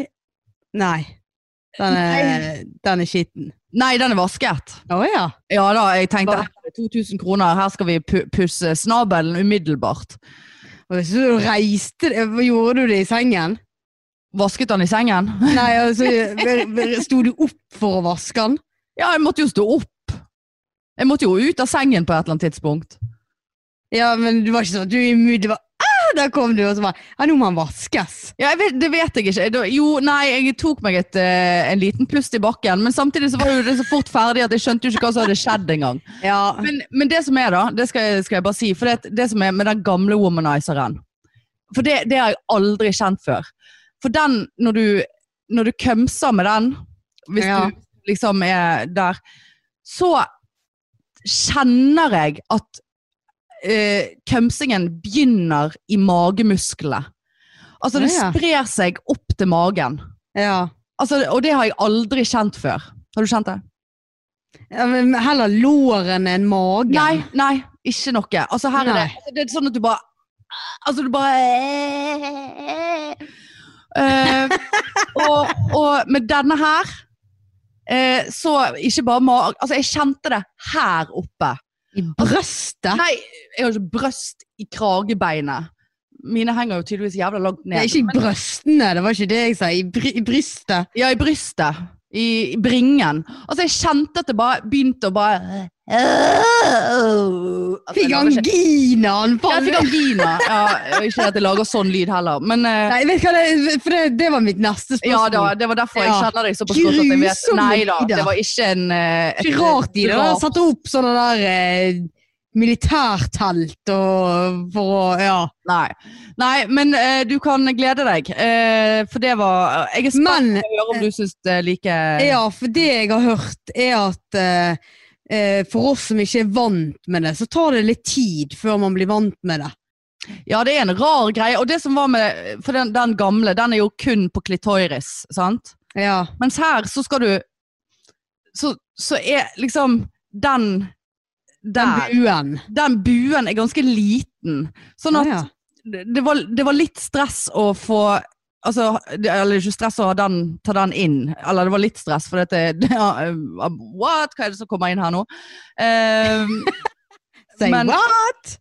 [SPEAKER 2] Nei. Den er, den er skitten.
[SPEAKER 1] Nei, den er vasket.
[SPEAKER 2] Å ja.
[SPEAKER 1] Ja da, jeg tenkte
[SPEAKER 2] Hva?
[SPEAKER 1] her er 2000 kroner, her skal vi pu pusse snabelen umiddelbart.
[SPEAKER 2] Og Så du reiste Hva Gjorde du det i sengen?
[SPEAKER 1] Vasket han i sengen?
[SPEAKER 2] Nei, altså Sto du opp for å vaske den?
[SPEAKER 1] Ja, jeg måtte jo stå opp. Jeg måtte jo ut av sengen på et eller annet tidspunkt.
[SPEAKER 2] Ja, men det var ikke sånn at du umiddelbart ah, Der kom du, og så bare Ja, nå må den vaskes.
[SPEAKER 1] Ja, jeg vet, Det vet jeg ikke. Da- Jo, nei, jeg tok meg et, eh, en liten pust i bakken, men samtidig så var jo det så fort ferdig at jeg skjønte jo ikke hva som hadde skjedd engang.
[SPEAKER 2] Ja.
[SPEAKER 1] Men, men det som er, da, det skal, jeg- skal jeg bare si, for det, det som er med den gamle womanizeren For det, det har jeg aldri kjent før. For den, når du, når du kømser med den, hvis
[SPEAKER 2] Ja.
[SPEAKER 1] du liksom er der, så kjenner jeg at eh, kømsingen begynner i magemusklene. Altså, det
[SPEAKER 2] Å, ja.
[SPEAKER 1] sprer seg opp til magen.
[SPEAKER 2] ja.
[SPEAKER 1] Altså, og det har jeg aldri kjent før. Har du kjent det?
[SPEAKER 2] Ja, men heller låren enn magen.
[SPEAKER 1] Nei, nei, ikke noe. Altså her er
[SPEAKER 2] Nei.
[SPEAKER 1] det altså, Det er sånn at du bare Altså du bare Eh, og, og med denne her eh, så ikke bare ma... Altså, jeg kjente det her oppe.
[SPEAKER 2] I brøstet?
[SPEAKER 1] Nei, jeg har ikke brøst i kragebeinet. Mine henger jo tydeligvis jævla langt
[SPEAKER 2] Nei,
[SPEAKER 1] ned.
[SPEAKER 2] ikke i brøstene, det var ikke det jeg sa. I, bry i brystet.
[SPEAKER 1] Ja, i brystet. I, I bringen. Altså, jeg kjente at det bare begynte å bare Altså, jeg
[SPEAKER 2] Fikk
[SPEAKER 1] lager ikke- Jeg
[SPEAKER 2] anginaanfall!
[SPEAKER 1] fikk angina. Ja, ikke at jeg lager sånn lyd heller. Men eh,
[SPEAKER 2] Nei, vet du hva det, for det, det var mitt neste
[SPEAKER 1] ja da,
[SPEAKER 2] spørsmål.
[SPEAKER 1] det var derfor jeg
[SPEAKER 2] Ja.
[SPEAKER 1] kjenner deg såpass godt at jeg vet
[SPEAKER 2] Grusomme
[SPEAKER 1] Nei da,
[SPEAKER 2] tider.
[SPEAKER 1] det var ikke en eh, et-
[SPEAKER 2] Ikke rart altså. de da
[SPEAKER 1] rart-
[SPEAKER 2] satte opp sånne der eh, militærtelt og for å Ja.
[SPEAKER 1] Nei. nei, men eh, du kan glede deg. eh, for det var Jeg er spent
[SPEAKER 2] Men
[SPEAKER 1] på å høre om du syns det er like
[SPEAKER 2] ja, for det jeg har hørt, er at eh, eh, for oss som ikke er vant med det, så tar det litt tid før man blir vant med det.
[SPEAKER 1] Ja, det er en rar greie. Og det som var med For den, den gamle, den er jo kun på klitoris, sant?
[SPEAKER 2] Ja.
[SPEAKER 1] Mens her så skal du Så, så er liksom den
[SPEAKER 2] Den
[SPEAKER 1] der
[SPEAKER 2] buen.
[SPEAKER 1] den buen er ganske liten. Sånn at
[SPEAKER 2] Ja, ja.
[SPEAKER 1] det, var, det var litt stress å få Altså, det- eller ikke stress å ha den, ta den inn. Eller det var litt stress, for dette det, ja, um, What? Hva er det som kommer inn her nå? Eh,
[SPEAKER 2] Say
[SPEAKER 1] Men-
[SPEAKER 2] what?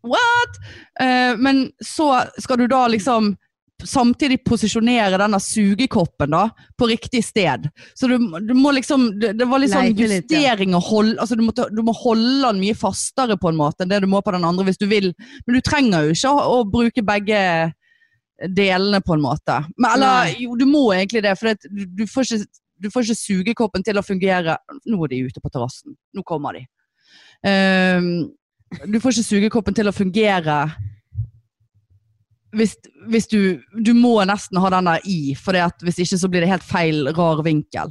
[SPEAKER 1] eh, men så skal du da liksom samtidig posisjonere denne sugekoppen da, på riktig sted. Så du, må- du må liksom Det, det var litt sånn
[SPEAKER 2] Leite litt, ja.
[SPEAKER 1] justering og hold altså du, må, ta- du må holde den mye fastere på en måte enn det du må på den andre hvis du vil. Men du trenger jo ikke å, å bruke begge delene, på en måte. Men, eller
[SPEAKER 2] Nei.
[SPEAKER 1] jo, du må egentlig det, for det, at du, du, får ikke, du får ikke sugekoppen til å fungere Nå er de ute på terrassen. Nå kommer de. Ehm, Du får ikke sugekoppen til å fungere hvis, hvis du Du må nesten ha den der i, for hvis ikke så blir det helt feil, rar vinkel.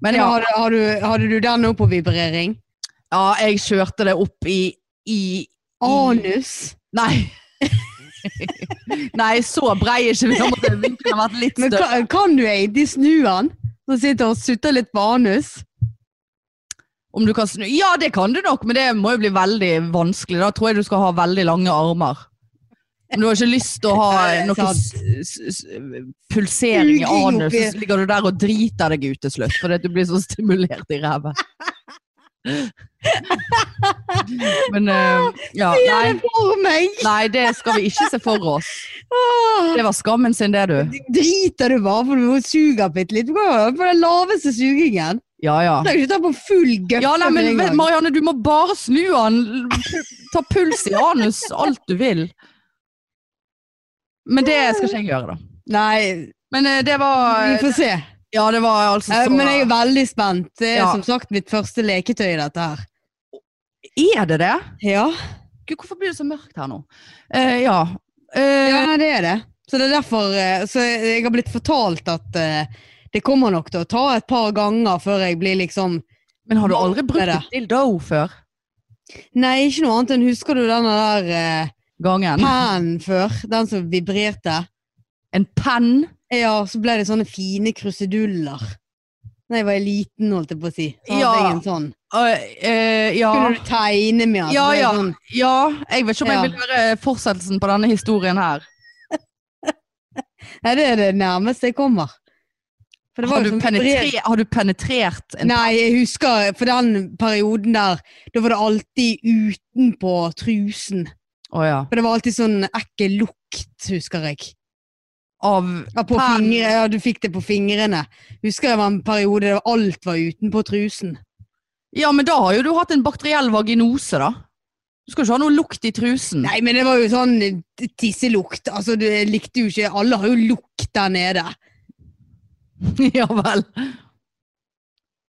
[SPEAKER 1] Men ja,
[SPEAKER 2] Hadde, har du, hadde du den nå på vibrering?
[SPEAKER 1] ja jeg kjørte det opp i, i
[SPEAKER 2] Anus?
[SPEAKER 1] Nei. Nei, så brei er ikke vi. Da måtte vinkelen ha vært litt
[SPEAKER 2] Men
[SPEAKER 1] større.
[SPEAKER 2] kan, kan du egentlig snu den? Så sitter og sutter litt på anus?
[SPEAKER 1] Om du kan snu Ja, det kan du nok, men det må jo bli veldig vanskelig. Da tror jeg du skal ha veldig lange armer. Men du har ikke lyst til å ha
[SPEAKER 2] Nei, det er
[SPEAKER 1] noe s s s pulsering i
[SPEAKER 2] Uging
[SPEAKER 1] anus,
[SPEAKER 2] oppi.
[SPEAKER 1] så ligger du der og driter deg ut til slutt fordi at du blir så stimulert i ræva. Men eh, ja,
[SPEAKER 2] Gjør det
[SPEAKER 1] nei,
[SPEAKER 2] for meg!
[SPEAKER 1] nei, det skal vi ikke se for oss.
[SPEAKER 2] Åh,
[SPEAKER 1] Det var skammen sin, det, du.
[SPEAKER 2] Driter du bare for du må suge bitte litt? Du kan jo på den laveste sugingen.
[SPEAKER 1] Ja, ja.
[SPEAKER 2] Du trenger ikke ta på full gøffe.
[SPEAKER 1] Ja, nei,
[SPEAKER 2] med en
[SPEAKER 1] men
[SPEAKER 2] gang.
[SPEAKER 1] vet- Marianne, du må bare snu han. Ta puls i anus, alt du vil. Men det skal ikke jeg gjøre, da.
[SPEAKER 2] Nei,
[SPEAKER 1] Men eh, det
[SPEAKER 2] vi
[SPEAKER 1] var
[SPEAKER 2] får se.
[SPEAKER 1] Ja, det var altså
[SPEAKER 2] Eh,
[SPEAKER 1] så
[SPEAKER 2] Men jeg er veldig spent. Det er
[SPEAKER 1] Ja.
[SPEAKER 2] som sagt mitt første leketøy, dette her.
[SPEAKER 1] Er det det?
[SPEAKER 2] Ja,
[SPEAKER 1] Gud, hvorfor blir det så mørkt her nå? Eh, ja. Eh,
[SPEAKER 2] ja nei, det er det. Så det er derfor eh, Så jeg har blitt fortalt at eh, det kommer nok til å ta et par ganger før jeg blir liksom
[SPEAKER 1] Men har du aldri
[SPEAKER 2] det
[SPEAKER 1] brukt
[SPEAKER 2] er det.
[SPEAKER 1] et dildo før?
[SPEAKER 2] Nei, ikke noe annet enn husker du den der eh,
[SPEAKER 1] Gangen?
[SPEAKER 2] pennen før? Den som vibrerte?
[SPEAKER 1] En penn?
[SPEAKER 2] Ja, så ble det sånne fine kruseduller. Da jeg var liten, holdt jeg på å si. Så hadde
[SPEAKER 1] Ja.
[SPEAKER 2] jeg en sånn.
[SPEAKER 1] Eh, eh, ja.
[SPEAKER 2] Kunne du tegne med den? så
[SPEAKER 1] Ja,
[SPEAKER 2] ble det
[SPEAKER 1] ja.
[SPEAKER 2] Sånn,
[SPEAKER 1] ja. Jeg vet ikke om
[SPEAKER 2] Ja.
[SPEAKER 1] jeg vil høre fortsettelsen på denne historien her.
[SPEAKER 2] nei, det er det nærmeste jeg kommer. For det var jo
[SPEAKER 1] Har du,
[SPEAKER 2] sånn vibrert-
[SPEAKER 1] penetre, har du penetrert en
[SPEAKER 2] Nei, jeg husker for den perioden der, da var det alltid utenpå trusen.
[SPEAKER 1] Å ja.
[SPEAKER 2] For det var alltid sånn ekkel lukt, husker jeg.
[SPEAKER 1] Av
[SPEAKER 2] Ja, på
[SPEAKER 1] Pen.
[SPEAKER 2] fingre, ja, du fikk det på fingrene. Husker jeg det var en periode der alt var utenpå trusen.
[SPEAKER 1] Ja, men da har jo du hatt en bakteriell vaginose, da. Du skal ikke ha noe lukt i trusen.
[SPEAKER 2] Nei, men det var jo sånn eh, tisselukt. Altså, du jeg likte jo ikke Alle har jo lukt der nede.
[SPEAKER 1] ja vel.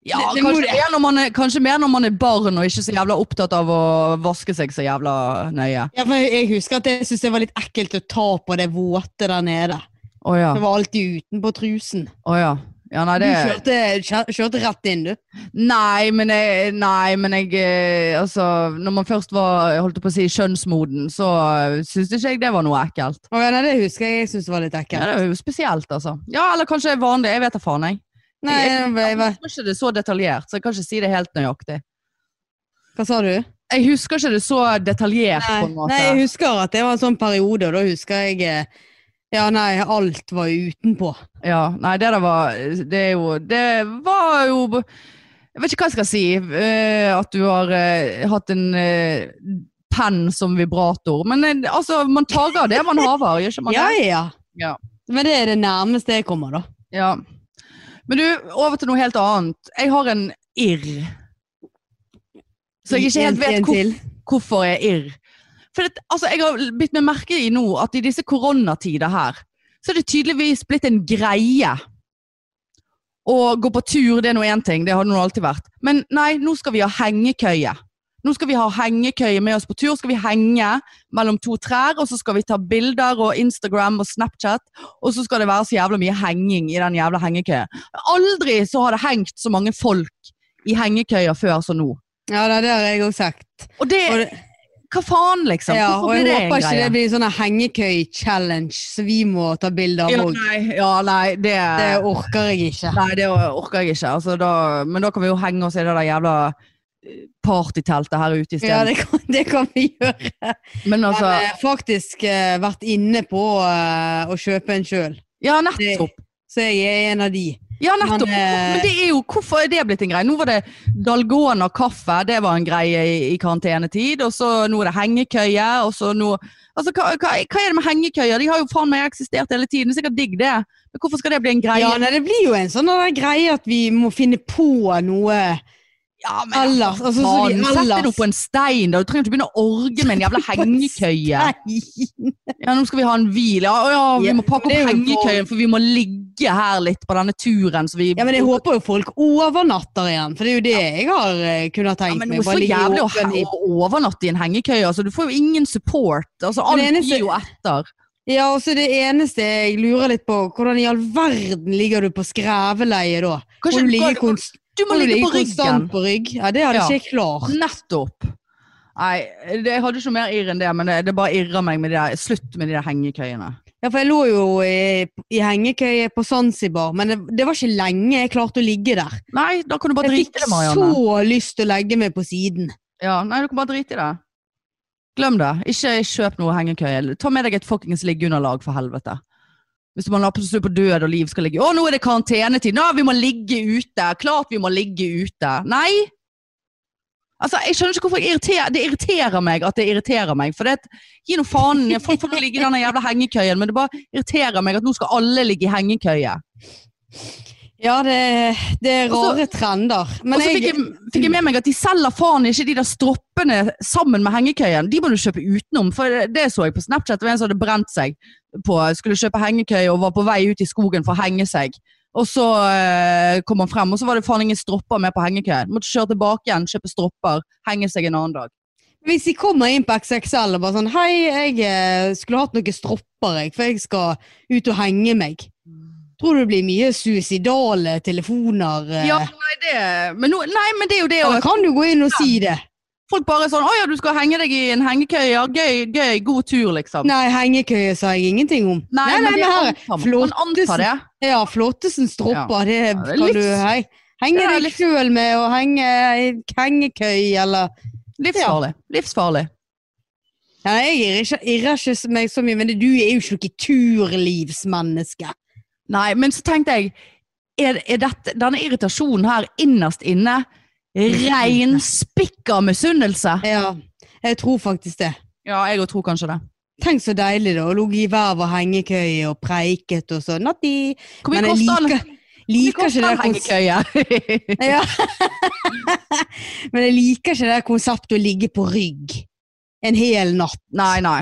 [SPEAKER 1] Ja,
[SPEAKER 2] Det- det må
[SPEAKER 1] kanskje,
[SPEAKER 2] det-
[SPEAKER 1] mer når man er, kanskje mer når man er barn og ikke så jævla opptatt av å vaske seg så jævla nøye.
[SPEAKER 2] Ja, for jeg, jeg husker at jeg syntes det var litt ekkelt å ta på det våte der nede.
[SPEAKER 1] Å ja.
[SPEAKER 2] Det var alltid utenpå trusen.
[SPEAKER 1] Å ja. Ja, nei,
[SPEAKER 2] Du
[SPEAKER 1] det
[SPEAKER 2] kjørte, kjør- kjørte rett inn, du.
[SPEAKER 1] Nei, men jeg, nei, men jeg eh, Altså, når man først var jeg holdt på å si, kjønnsmoden, så eh, syntes ikke jeg det var noe ekkelt.
[SPEAKER 2] Å, ja, nei, det husker jeg. Jeg syntes det var litt ekkelt.
[SPEAKER 1] Ja, det er jo spesielt, altså. Ja, eller kanskje vanlig. Jeg vet da faen, jeg.
[SPEAKER 2] Nei, jeg, jeg,
[SPEAKER 1] Jeg tror ikke det er så detaljert, så jeg kan ikke si det helt nøyaktig.
[SPEAKER 2] hva sa du?
[SPEAKER 1] Jeg husker ikke det så detaljert,
[SPEAKER 2] Nei,
[SPEAKER 1] på en måte.
[SPEAKER 2] nei, jeg husker at det var en sånn periode, og da husker jeg eh, Ja, nei, alt var jo utenpå.
[SPEAKER 1] ja, nei, det der var Det er jo Det var jo Jeg vet ikke hva jeg skal si. eh, at du har eh, hatt en eh, penn som vibrator. Men eh, altså, man tar av det man haver, gjør ikke man
[SPEAKER 2] Ja,
[SPEAKER 1] det?
[SPEAKER 2] ja.
[SPEAKER 1] Ja.
[SPEAKER 2] Men det er det nærmeste jeg kommer, da.
[SPEAKER 1] Ja. Men du, over til noe helt annet. Jeg har en irr. Så jeg ikke helt
[SPEAKER 2] En- en
[SPEAKER 1] vet hvor,
[SPEAKER 2] til.
[SPEAKER 1] hvorfor jeg er irr. For det, altså, jeg har bitt meg merke i nå at i disse koronatider her, så er det tydeligvis blitt en greie. Å gå på tur, det er nå én ting, det har det nå alltid vært. Men nei, nå skal vi ha hengekøye. Nå skal vi ha hengekøye med oss på tur. Skal vi henge mellom to trær, og så skal vi ta bilder og Instagram og Snapchat, og så skal det være så jævla mye henging i den jævla hengekøyen. Aldri så har det hengt så mange folk i hengekøyer før som nå.
[SPEAKER 2] Ja, det, det har jeg òg sagt.
[SPEAKER 1] Og det
[SPEAKER 2] Og, det-
[SPEAKER 1] hva faen, liksom?
[SPEAKER 2] ja, og
[SPEAKER 1] Hvorfor
[SPEAKER 2] jeg
[SPEAKER 1] blir det en
[SPEAKER 2] håper ikke
[SPEAKER 1] greie?
[SPEAKER 2] det blir sånn hengekøy-challenge som vi må ta bilde av
[SPEAKER 1] ja,
[SPEAKER 2] òg.
[SPEAKER 1] nei, ja, nei, det,
[SPEAKER 2] Det orker jeg ikke.
[SPEAKER 1] nei, det orker jeg ikke. Altså, da, men da kan vi jo henge oss i det der jævla eh, partyteltet her ute
[SPEAKER 2] Ja,
[SPEAKER 1] isteden.
[SPEAKER 2] det kan, det kan vi gjøre.
[SPEAKER 1] men
[SPEAKER 2] Men
[SPEAKER 1] altså
[SPEAKER 2] eh, faktisk eh, vært inne på eh, å kjøpe en sjøl.
[SPEAKER 1] Ja, nettopp.
[SPEAKER 2] Så jeg er en av de.
[SPEAKER 1] Ja, nettopp.
[SPEAKER 2] Men, eh,
[SPEAKER 1] Men det er jo, hvorfor er det blitt en greie? Nå var det Dalgona kaffe, det var en greie i, i karantenetid. Og så nå er det hengekøye, og så nå Altså, hva, hva, hva er det med hengekøyer? De har jo faen meg eksistert hele tiden. Det er sikkert digg, det. Men hvorfor skal det bli en greie?
[SPEAKER 2] Ja, nei, det blir jo en sånn der greie at vi må finne på noe
[SPEAKER 1] Ja, men
[SPEAKER 2] Ellers. Altså, så de-
[SPEAKER 1] faen, sett deg
[SPEAKER 2] ellers.
[SPEAKER 1] nå på en stein, da. Du trenger ikke begynne å orge med en jævla hengekøye.
[SPEAKER 2] Nei.
[SPEAKER 1] Ja, nå skal vi ha en hvil. Ja, å ja, vi
[SPEAKER 2] Ja,
[SPEAKER 1] må pakke
[SPEAKER 2] det er
[SPEAKER 1] opp
[SPEAKER 2] jo
[SPEAKER 1] hengekøyen, for vi må ligge her litt på denne turen. Så vi
[SPEAKER 2] Ja, men jeg håper jo folk overnatter igjen, for det er jo det jeg har eh, kunnet
[SPEAKER 1] Ja,
[SPEAKER 2] tenkt
[SPEAKER 1] men
[SPEAKER 2] meg.
[SPEAKER 1] hvorfor
[SPEAKER 2] bare ligge i
[SPEAKER 1] jævlig å
[SPEAKER 2] åpen i-
[SPEAKER 1] he- å overnatte i en hengekøye? Altså, du får jo ingen support. Altså,
[SPEAKER 2] Men
[SPEAKER 1] alt
[SPEAKER 2] det eneste-
[SPEAKER 1] gir jo etter.
[SPEAKER 2] Ja, og så det eneste jeg lurer litt på, hvordan i all verden ligger du på skreveleie da?
[SPEAKER 1] Kanskje-
[SPEAKER 2] Må du ligge,
[SPEAKER 1] kan-
[SPEAKER 2] konst
[SPEAKER 1] Du må
[SPEAKER 2] må du
[SPEAKER 1] ligge
[SPEAKER 2] ligge
[SPEAKER 1] på ryggen.
[SPEAKER 2] konstant på rygg? Ja, det hadde
[SPEAKER 1] Ja.
[SPEAKER 2] ikke jeg klart.
[SPEAKER 1] Nettopp. Nei, det, jeg hadde ikke mer irr enn det, men det, det bare irrer meg med de der Slutt med de der hengekøyene.
[SPEAKER 2] Ja, for jeg lå jo i, i hengekøye på Zanzibar, men det, det var ikke lenge jeg klarte å ligge der.
[SPEAKER 1] Nei, da kan du bare
[SPEAKER 2] Jeg
[SPEAKER 1] drite i
[SPEAKER 2] fikk
[SPEAKER 1] det, Marianne.
[SPEAKER 2] så lyst til å legge meg på siden.
[SPEAKER 1] Ja, nei, du kan bare drite i det. Glem det. Ikke kjøp noe hengekøye. Ta med deg et fuckings liggeunderlag, for helvete. Hvis man har på seg på død og liv skal ligge Å, nå er det karantenetid! Nå, vi må ligge ute! Klart vi må ligge ute! Nei! Altså, Jeg skjønner ikke hvorfor jeg irriterer Det irriterer meg at det irriterer meg. For det at, Gi nå faen. Folk får nå ligge i den jævla hengekøyen, men det bare irriterer meg at nå skal alle ligge i hengekøye.
[SPEAKER 2] Ja, det, det er
[SPEAKER 1] Og så-
[SPEAKER 2] rare trender.
[SPEAKER 1] Og
[SPEAKER 2] Men
[SPEAKER 1] så fikk
[SPEAKER 2] jeg,
[SPEAKER 1] jeg, fikk jeg med meg at de selger faen ikke de der stroppene sammen med hengekøyen. De må du kjøpe utenom, for det, det så jeg på Snapchat. Det var en som hadde brent seg på Skulle kjøpe hengekøye og var på vei ut i skogen for å henge seg. Og så eh, kom han frem, og så var det faen ingen stropper med på hengekøyen. Måtte kjøre tilbake igjen, kjøpe stropper, henge seg en annen dag.
[SPEAKER 2] hvis de kommer inn på XXL og bare sånn Hei, jeg eh, skulle hatt noen stropper, jeg, for jeg skal ut og henge meg. Tror du det blir mye suicidale telefoner? eh?
[SPEAKER 1] Ja, nei, det, men, nå, nei, men det er jo det å
[SPEAKER 2] Eller kan du gå inn og si det?
[SPEAKER 1] Folk bare er sånn 'Å ja, du skal henge deg i en hengekøye. Ja, gøy, gøy, god tur', liksom.
[SPEAKER 2] Nei, hengekøye sa jeg ingenting om.
[SPEAKER 1] Nei, men det
[SPEAKER 2] men her
[SPEAKER 1] er
[SPEAKER 2] er-
[SPEAKER 1] antar man. Man antar det.
[SPEAKER 2] Ja, Flåttesen stropper, det
[SPEAKER 1] det er
[SPEAKER 2] kan
[SPEAKER 1] litt-
[SPEAKER 2] du hei. henge
[SPEAKER 1] Ja, det er
[SPEAKER 2] deg
[SPEAKER 1] litt-
[SPEAKER 2] sjøl med og henge i hengekøy, eller
[SPEAKER 1] Livsfarlig. Livsfarlig.
[SPEAKER 2] ja, Jeg irrer ikke, irrer ikke så- meg så mye, men det- du er jo ikke noe turlivsmenneske.
[SPEAKER 1] Nei, men så tenkte jeg Er, er dette, denne irritasjonen her innerst inne reinspikka misunnelse?
[SPEAKER 2] Ja, jeg tror faktisk det.
[SPEAKER 1] Ja, jeg òg tror kanskje det.
[SPEAKER 2] Tenk så deilig, da. Å ligge i hver vår hengekøye og preiket og sånn. Natti!
[SPEAKER 1] Hvor
[SPEAKER 2] Men
[SPEAKER 1] mye
[SPEAKER 2] jeg
[SPEAKER 1] koster
[SPEAKER 2] liker,
[SPEAKER 1] en- hvor mye
[SPEAKER 2] liker ikke
[SPEAKER 1] koster
[SPEAKER 2] det
[SPEAKER 1] en
[SPEAKER 2] kons-
[SPEAKER 1] hengekøye?
[SPEAKER 2] Ja. Men jeg liker ikke det konseptet å ligge på rygg en hel natt.
[SPEAKER 1] nei, nei.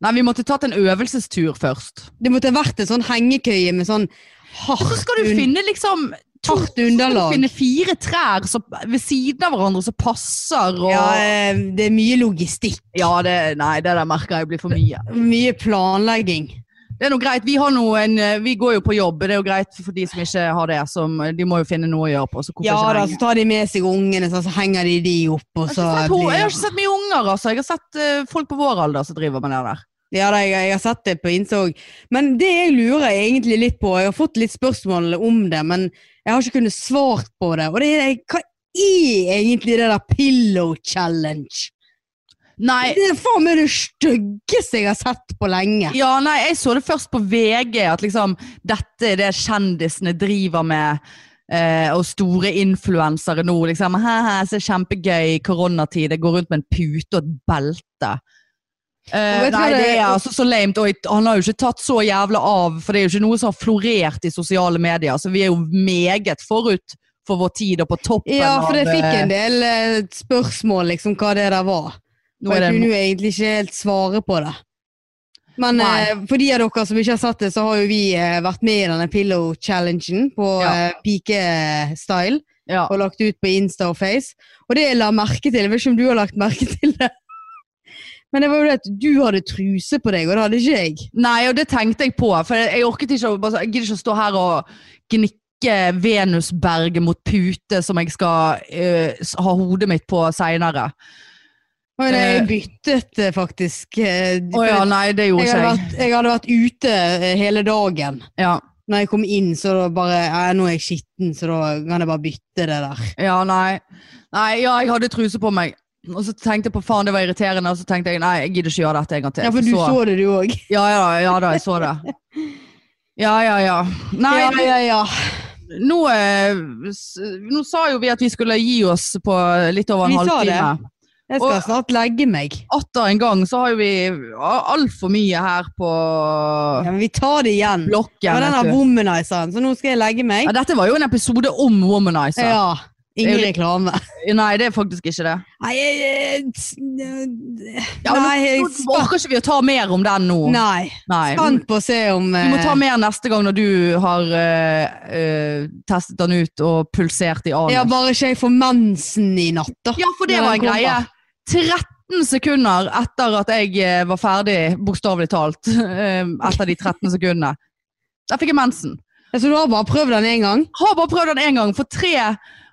[SPEAKER 1] Nei, vi måtte tatt en øvelsestur først.
[SPEAKER 2] Det måtte vært en sånn hengekøye med sånn hardt,
[SPEAKER 1] Så skal du
[SPEAKER 2] un-
[SPEAKER 1] finne liksom to-
[SPEAKER 2] hardt
[SPEAKER 1] så skal
[SPEAKER 2] underlag.
[SPEAKER 1] du finne fire trær som, ved siden av hverandre som passer og
[SPEAKER 2] Ja, eh, det er mmye logistikk.
[SPEAKER 1] Ja, det, nei, det der merker jeg blir for mye.
[SPEAKER 2] Mye planlegging.
[SPEAKER 1] Det er noe greit. Vi, har nå en, eh, vi går jo på jobb. Det er jo greit for de som ikke har det. Som, eh, de må jo finne noe å gjøre på. Så hvorfor
[SPEAKER 2] Ja
[SPEAKER 1] ikke
[SPEAKER 2] da,
[SPEAKER 1] henge?
[SPEAKER 2] så tar de med seg ungene, sånn, så henger de de opp, og
[SPEAKER 1] Jeg
[SPEAKER 2] så
[SPEAKER 1] har, ikke sett, ho- jeg har
[SPEAKER 2] blir
[SPEAKER 1] ikke sett mye unger, altså. Jeg har sett eh, folk på vår alder som driver med det der.
[SPEAKER 2] Ja da, jeg, jeg har sett det på Innsåg. Men det jeg lurer egentlig litt på, jeg har fått litt spørsmål om det, men jeg har ikke kunnet svart på det. Og det er hva er egentlig det der pillow challenge?
[SPEAKER 1] Nei,
[SPEAKER 2] Det er faen meg det styggeste jeg har sett på lenge.
[SPEAKER 1] ja, nei, jeg så det først på VG, at liksom dette er det kjendisene driver med. eh, og store influensere nå, liksom. Haha, så kjempegøy koronatid. Jeg går rundt med en pute og et belte. Eh,
[SPEAKER 2] Og vet du hva
[SPEAKER 1] nei,
[SPEAKER 2] det-
[SPEAKER 1] det er altså så lamet. Og jeg- han har jo ikke tatt så jævla av, for det er jo ikke noe som har florert i sosiale medier. Så vi er jo meget forut for vår tid og på toppen
[SPEAKER 2] Ja, for jeg
[SPEAKER 1] av,
[SPEAKER 2] fikk
[SPEAKER 1] eh,
[SPEAKER 2] en del eh, spørsmål liksom hva det der var.
[SPEAKER 1] nå
[SPEAKER 2] Og
[SPEAKER 1] er
[SPEAKER 2] jeg
[SPEAKER 1] det en
[SPEAKER 2] kunne jo egentlig ikke helt svare på det. Men
[SPEAKER 1] Nei.
[SPEAKER 2] eh, for de av dere som ikke har sett det, så har jo vi eh, vært med i denne pillow challengen på
[SPEAKER 1] Ja.
[SPEAKER 2] eh, pikestyle.
[SPEAKER 1] ja.
[SPEAKER 2] Og lagt ut på Insta og Face. Og det jeg la merke til, jeg vet ikke om du har lagt merke til det. Men det var jo det at du hadde truse på deg, og det hadde ikke jeg.
[SPEAKER 1] Nei, og det tenkte jeg på. For jeg orket ikke å, bare, jeg gidder ikke å stå her og gnikke Venusberget mot pute som jeg skal eh, s- ha hodet mitt på seinere.
[SPEAKER 2] Men jeg
[SPEAKER 1] Eh.
[SPEAKER 2] byttet eh, faktisk. eh,
[SPEAKER 1] Å ja, nei, det
[SPEAKER 2] jeg,
[SPEAKER 1] gjorde
[SPEAKER 2] hadde
[SPEAKER 1] ikke jeg.
[SPEAKER 2] vært, jeg hadde vært ute eh, hele dagen.
[SPEAKER 1] Ja,
[SPEAKER 2] Når jeg kom inn, så da bare ja, Nå er jeg skitten, så da kan jeg bare bytte det der.
[SPEAKER 1] ja, nei. Nei, ja, jeg hadde truse på meg. Og så tenkte jeg på faen, det var irriterende. Og så tenkte jeg nei, jeg gidder ikke gjøre dette en gang til.
[SPEAKER 2] Ja, for du så,
[SPEAKER 1] så
[SPEAKER 2] det, du òg.
[SPEAKER 1] Ja, ja, ja da, jeg så det. Ja, ja, ja. Nei,
[SPEAKER 2] Ja, ja, ja.
[SPEAKER 1] Nå, eh, s- nå sa jo vi at vi skulle gi oss på litt over en
[SPEAKER 2] Vi sa det.
[SPEAKER 1] halvtime.
[SPEAKER 2] Jeg skal
[SPEAKER 1] Og-
[SPEAKER 2] snart legge meg.
[SPEAKER 1] atter en gang så har jo vi altfor mye her på
[SPEAKER 2] Ja, men vi tar det igjen. Det
[SPEAKER 1] blokken.
[SPEAKER 2] var
[SPEAKER 1] vet
[SPEAKER 2] den
[SPEAKER 1] du.
[SPEAKER 2] womanizeren, så nå skal jeg legge meg.
[SPEAKER 1] ja, dette var jo en episode om Womanizer.
[SPEAKER 2] Ja.
[SPEAKER 1] jo
[SPEAKER 2] Ingen
[SPEAKER 1] litt-
[SPEAKER 2] reklame.
[SPEAKER 1] Nei, det er faktisk ikke det.
[SPEAKER 2] Nei, jeg- jeg- s- n-
[SPEAKER 1] Ja, men
[SPEAKER 2] Nei, jeg
[SPEAKER 1] nå nå orker ikke vi å ta mer om den nå.
[SPEAKER 2] Nei.
[SPEAKER 1] Nei.
[SPEAKER 2] Spent på å se om
[SPEAKER 1] Vi må ta
[SPEAKER 2] eh,
[SPEAKER 1] mer neste gang når du har eh, eh, testet den ut og pulsert i anus.
[SPEAKER 2] Ja, bare ikke jeg får mensen i natt, da.
[SPEAKER 1] Ja, for det
[SPEAKER 2] Når
[SPEAKER 1] var
[SPEAKER 2] den
[SPEAKER 1] en greie. 13 sekunder etter at jeg eh, var ferdig, bokstavelig talt. eh, Etter de 13 sekundene. Der fikk jeg mensen.
[SPEAKER 2] Ja, Så du har bare prøvd den én gang?
[SPEAKER 1] Har bare prøvd den én gang, for tre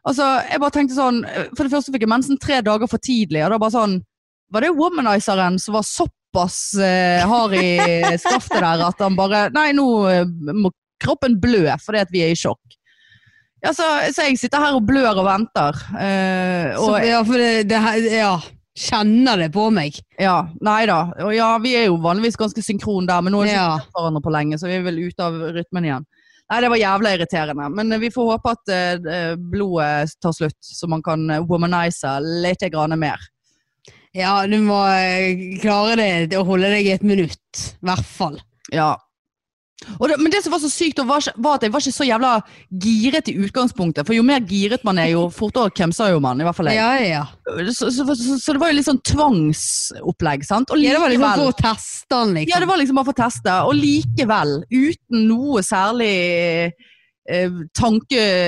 [SPEAKER 1] Altså, jeg bare tenkte sånn eh, For det første fikk jeg mensen tre dager for tidlig, og da bare sånn Var det womanizeren som var såpass eh, hard i skaftet der at han bare Nei, nå eh, må kroppen blø fordi at vi er i sjokk. Ja, så, så jeg sitter her og blør og venter. eh, og
[SPEAKER 2] Så, ja, for det, det her Ja. Kjenner det på meg.
[SPEAKER 1] Ja, nei da. Og ja, vi er jo vanligvis ganske synkron der, men nå har vi ikke
[SPEAKER 2] Ja.
[SPEAKER 1] sett hverandre på lenge, så vi er vel ute av rytmen igjen. Nei, det var jævla irriterende, men eh, vi får håpe at eh, blodet tar slutt, så man kan eh, womanize litt grann mer.
[SPEAKER 2] Ja, du må eh, klare det til å holde deg i et minutt. I hvert fall.
[SPEAKER 1] Ja. Og det, men det som var så sykt, var, ikke- var at jeg var ikke så jævla giret i utgangspunktet. For jo mer giret man er, jo fortere kremser jo man. i hvert fall jeg.
[SPEAKER 2] Ja, ja.
[SPEAKER 1] Så, så, så, så det var jo litt sånn tvangsopplegg, sant? Og
[SPEAKER 2] ja det var liksom
[SPEAKER 1] likevel-
[SPEAKER 2] for å teste den, liksom.
[SPEAKER 1] Ja, det var liksom bare for å teste. Og likevel, uten noe særlig eh,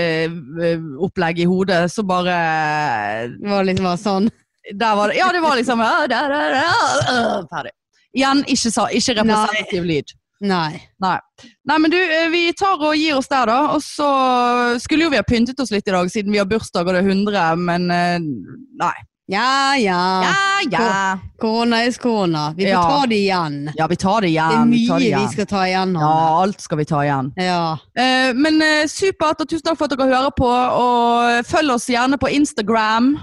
[SPEAKER 1] tankeopplegg i hodet, så bare eh,
[SPEAKER 2] Det var liksom bare sånn.
[SPEAKER 1] Der var det Ja, det var liksom ja, der, der, der, øh, Ferdig. Igjen, ikke, sa, ikke representativ lyd.
[SPEAKER 2] Nei.
[SPEAKER 1] Nei, men du, eh, vi tar og gir oss der, da. Og så skulle jo vi ha pyntet oss litt i dag, siden vi har bursdag og det er 100, men eh, Nei.
[SPEAKER 2] Ja, ja.
[SPEAKER 1] Ja, ja.
[SPEAKER 2] Korona er korona. Vi får
[SPEAKER 1] Ja.
[SPEAKER 2] ta det igjen.
[SPEAKER 1] Ja, vi tar det
[SPEAKER 2] Det er
[SPEAKER 1] igjen. Vi
[SPEAKER 2] mye
[SPEAKER 1] tar det
[SPEAKER 2] vi
[SPEAKER 1] igjen.
[SPEAKER 2] skal ta igjen.
[SPEAKER 1] Ja,
[SPEAKER 2] Hanne.
[SPEAKER 1] alt skal vi ta igjen.
[SPEAKER 2] Ja.
[SPEAKER 1] Eh, men eh, supert, og tusen takk for at dere hører på. Og følg oss gjerne på Instagram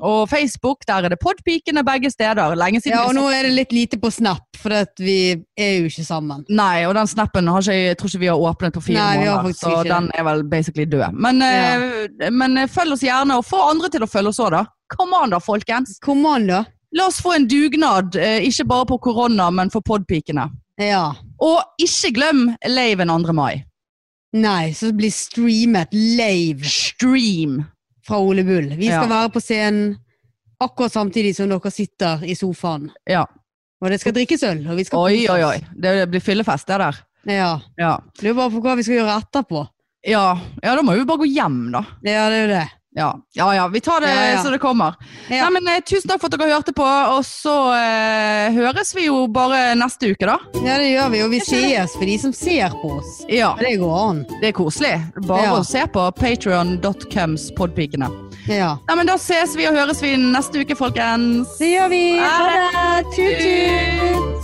[SPEAKER 1] og Facebook. Der er det Podpikene begge steder. Lenge siden
[SPEAKER 2] ja, og
[SPEAKER 1] vi
[SPEAKER 2] nå er det litt lite på Snap, for at vi er jo ikke sammen.
[SPEAKER 1] Nei, og den snappen har ikke, jeg tror ikke vi har åpnet på fire
[SPEAKER 2] Nei, vi har
[SPEAKER 1] måneder.
[SPEAKER 2] faktisk
[SPEAKER 1] Så
[SPEAKER 2] ikke det.
[SPEAKER 1] den er vel basically død. Men, eh, men eh, følg oss gjerne, og få andre til å følge oss òg, da. Come on, da, folkens.
[SPEAKER 2] Kom an, da.
[SPEAKER 1] La oss få en dugnad, eh, ikke bare på korona, men for Podpikene.
[SPEAKER 2] Ja.
[SPEAKER 1] Og ikke glem Laven 2. mai.
[SPEAKER 2] Nei, så det blir streamet live
[SPEAKER 1] Stream.
[SPEAKER 2] fra Ole Bull. Vi skal
[SPEAKER 1] Ja.
[SPEAKER 2] være på scenen akkurat samtidig som dere sitter i sofaen.
[SPEAKER 1] Ja.
[SPEAKER 2] Og det skal drikkes øl. Og vi skal
[SPEAKER 1] Oi,
[SPEAKER 2] kose
[SPEAKER 1] oi,
[SPEAKER 2] oss.
[SPEAKER 1] oi. Det blir fyllefest, det der.
[SPEAKER 2] Ja.
[SPEAKER 1] Ja.
[SPEAKER 2] Lurer bare på hva vi skal gjøre etterpå.
[SPEAKER 1] Ja, ja, da må vi bare gå hjem, da.
[SPEAKER 2] Ja, det er jo det.
[SPEAKER 1] Ja, ja, ja vi tar det
[SPEAKER 2] Ja, ja.
[SPEAKER 1] så det kommer.
[SPEAKER 2] Ja.
[SPEAKER 1] Nei, men eh, Tusen takk for at dere hørte på, og så eh, høres vi jo bare neste uke, da.
[SPEAKER 2] Ja, det gjør vi. Og vi sees for de som ser på oss.
[SPEAKER 1] Ja,
[SPEAKER 2] Det går an.
[SPEAKER 1] Det er koselig. Bare
[SPEAKER 2] Ja.
[SPEAKER 1] å se på patrion.coms podpikene.
[SPEAKER 2] Ja.
[SPEAKER 1] Nei, men Da ses vi og høres vi neste uke, folkens.
[SPEAKER 2] Det gjør vi.
[SPEAKER 1] Ha
[SPEAKER 2] det. Tut-tut.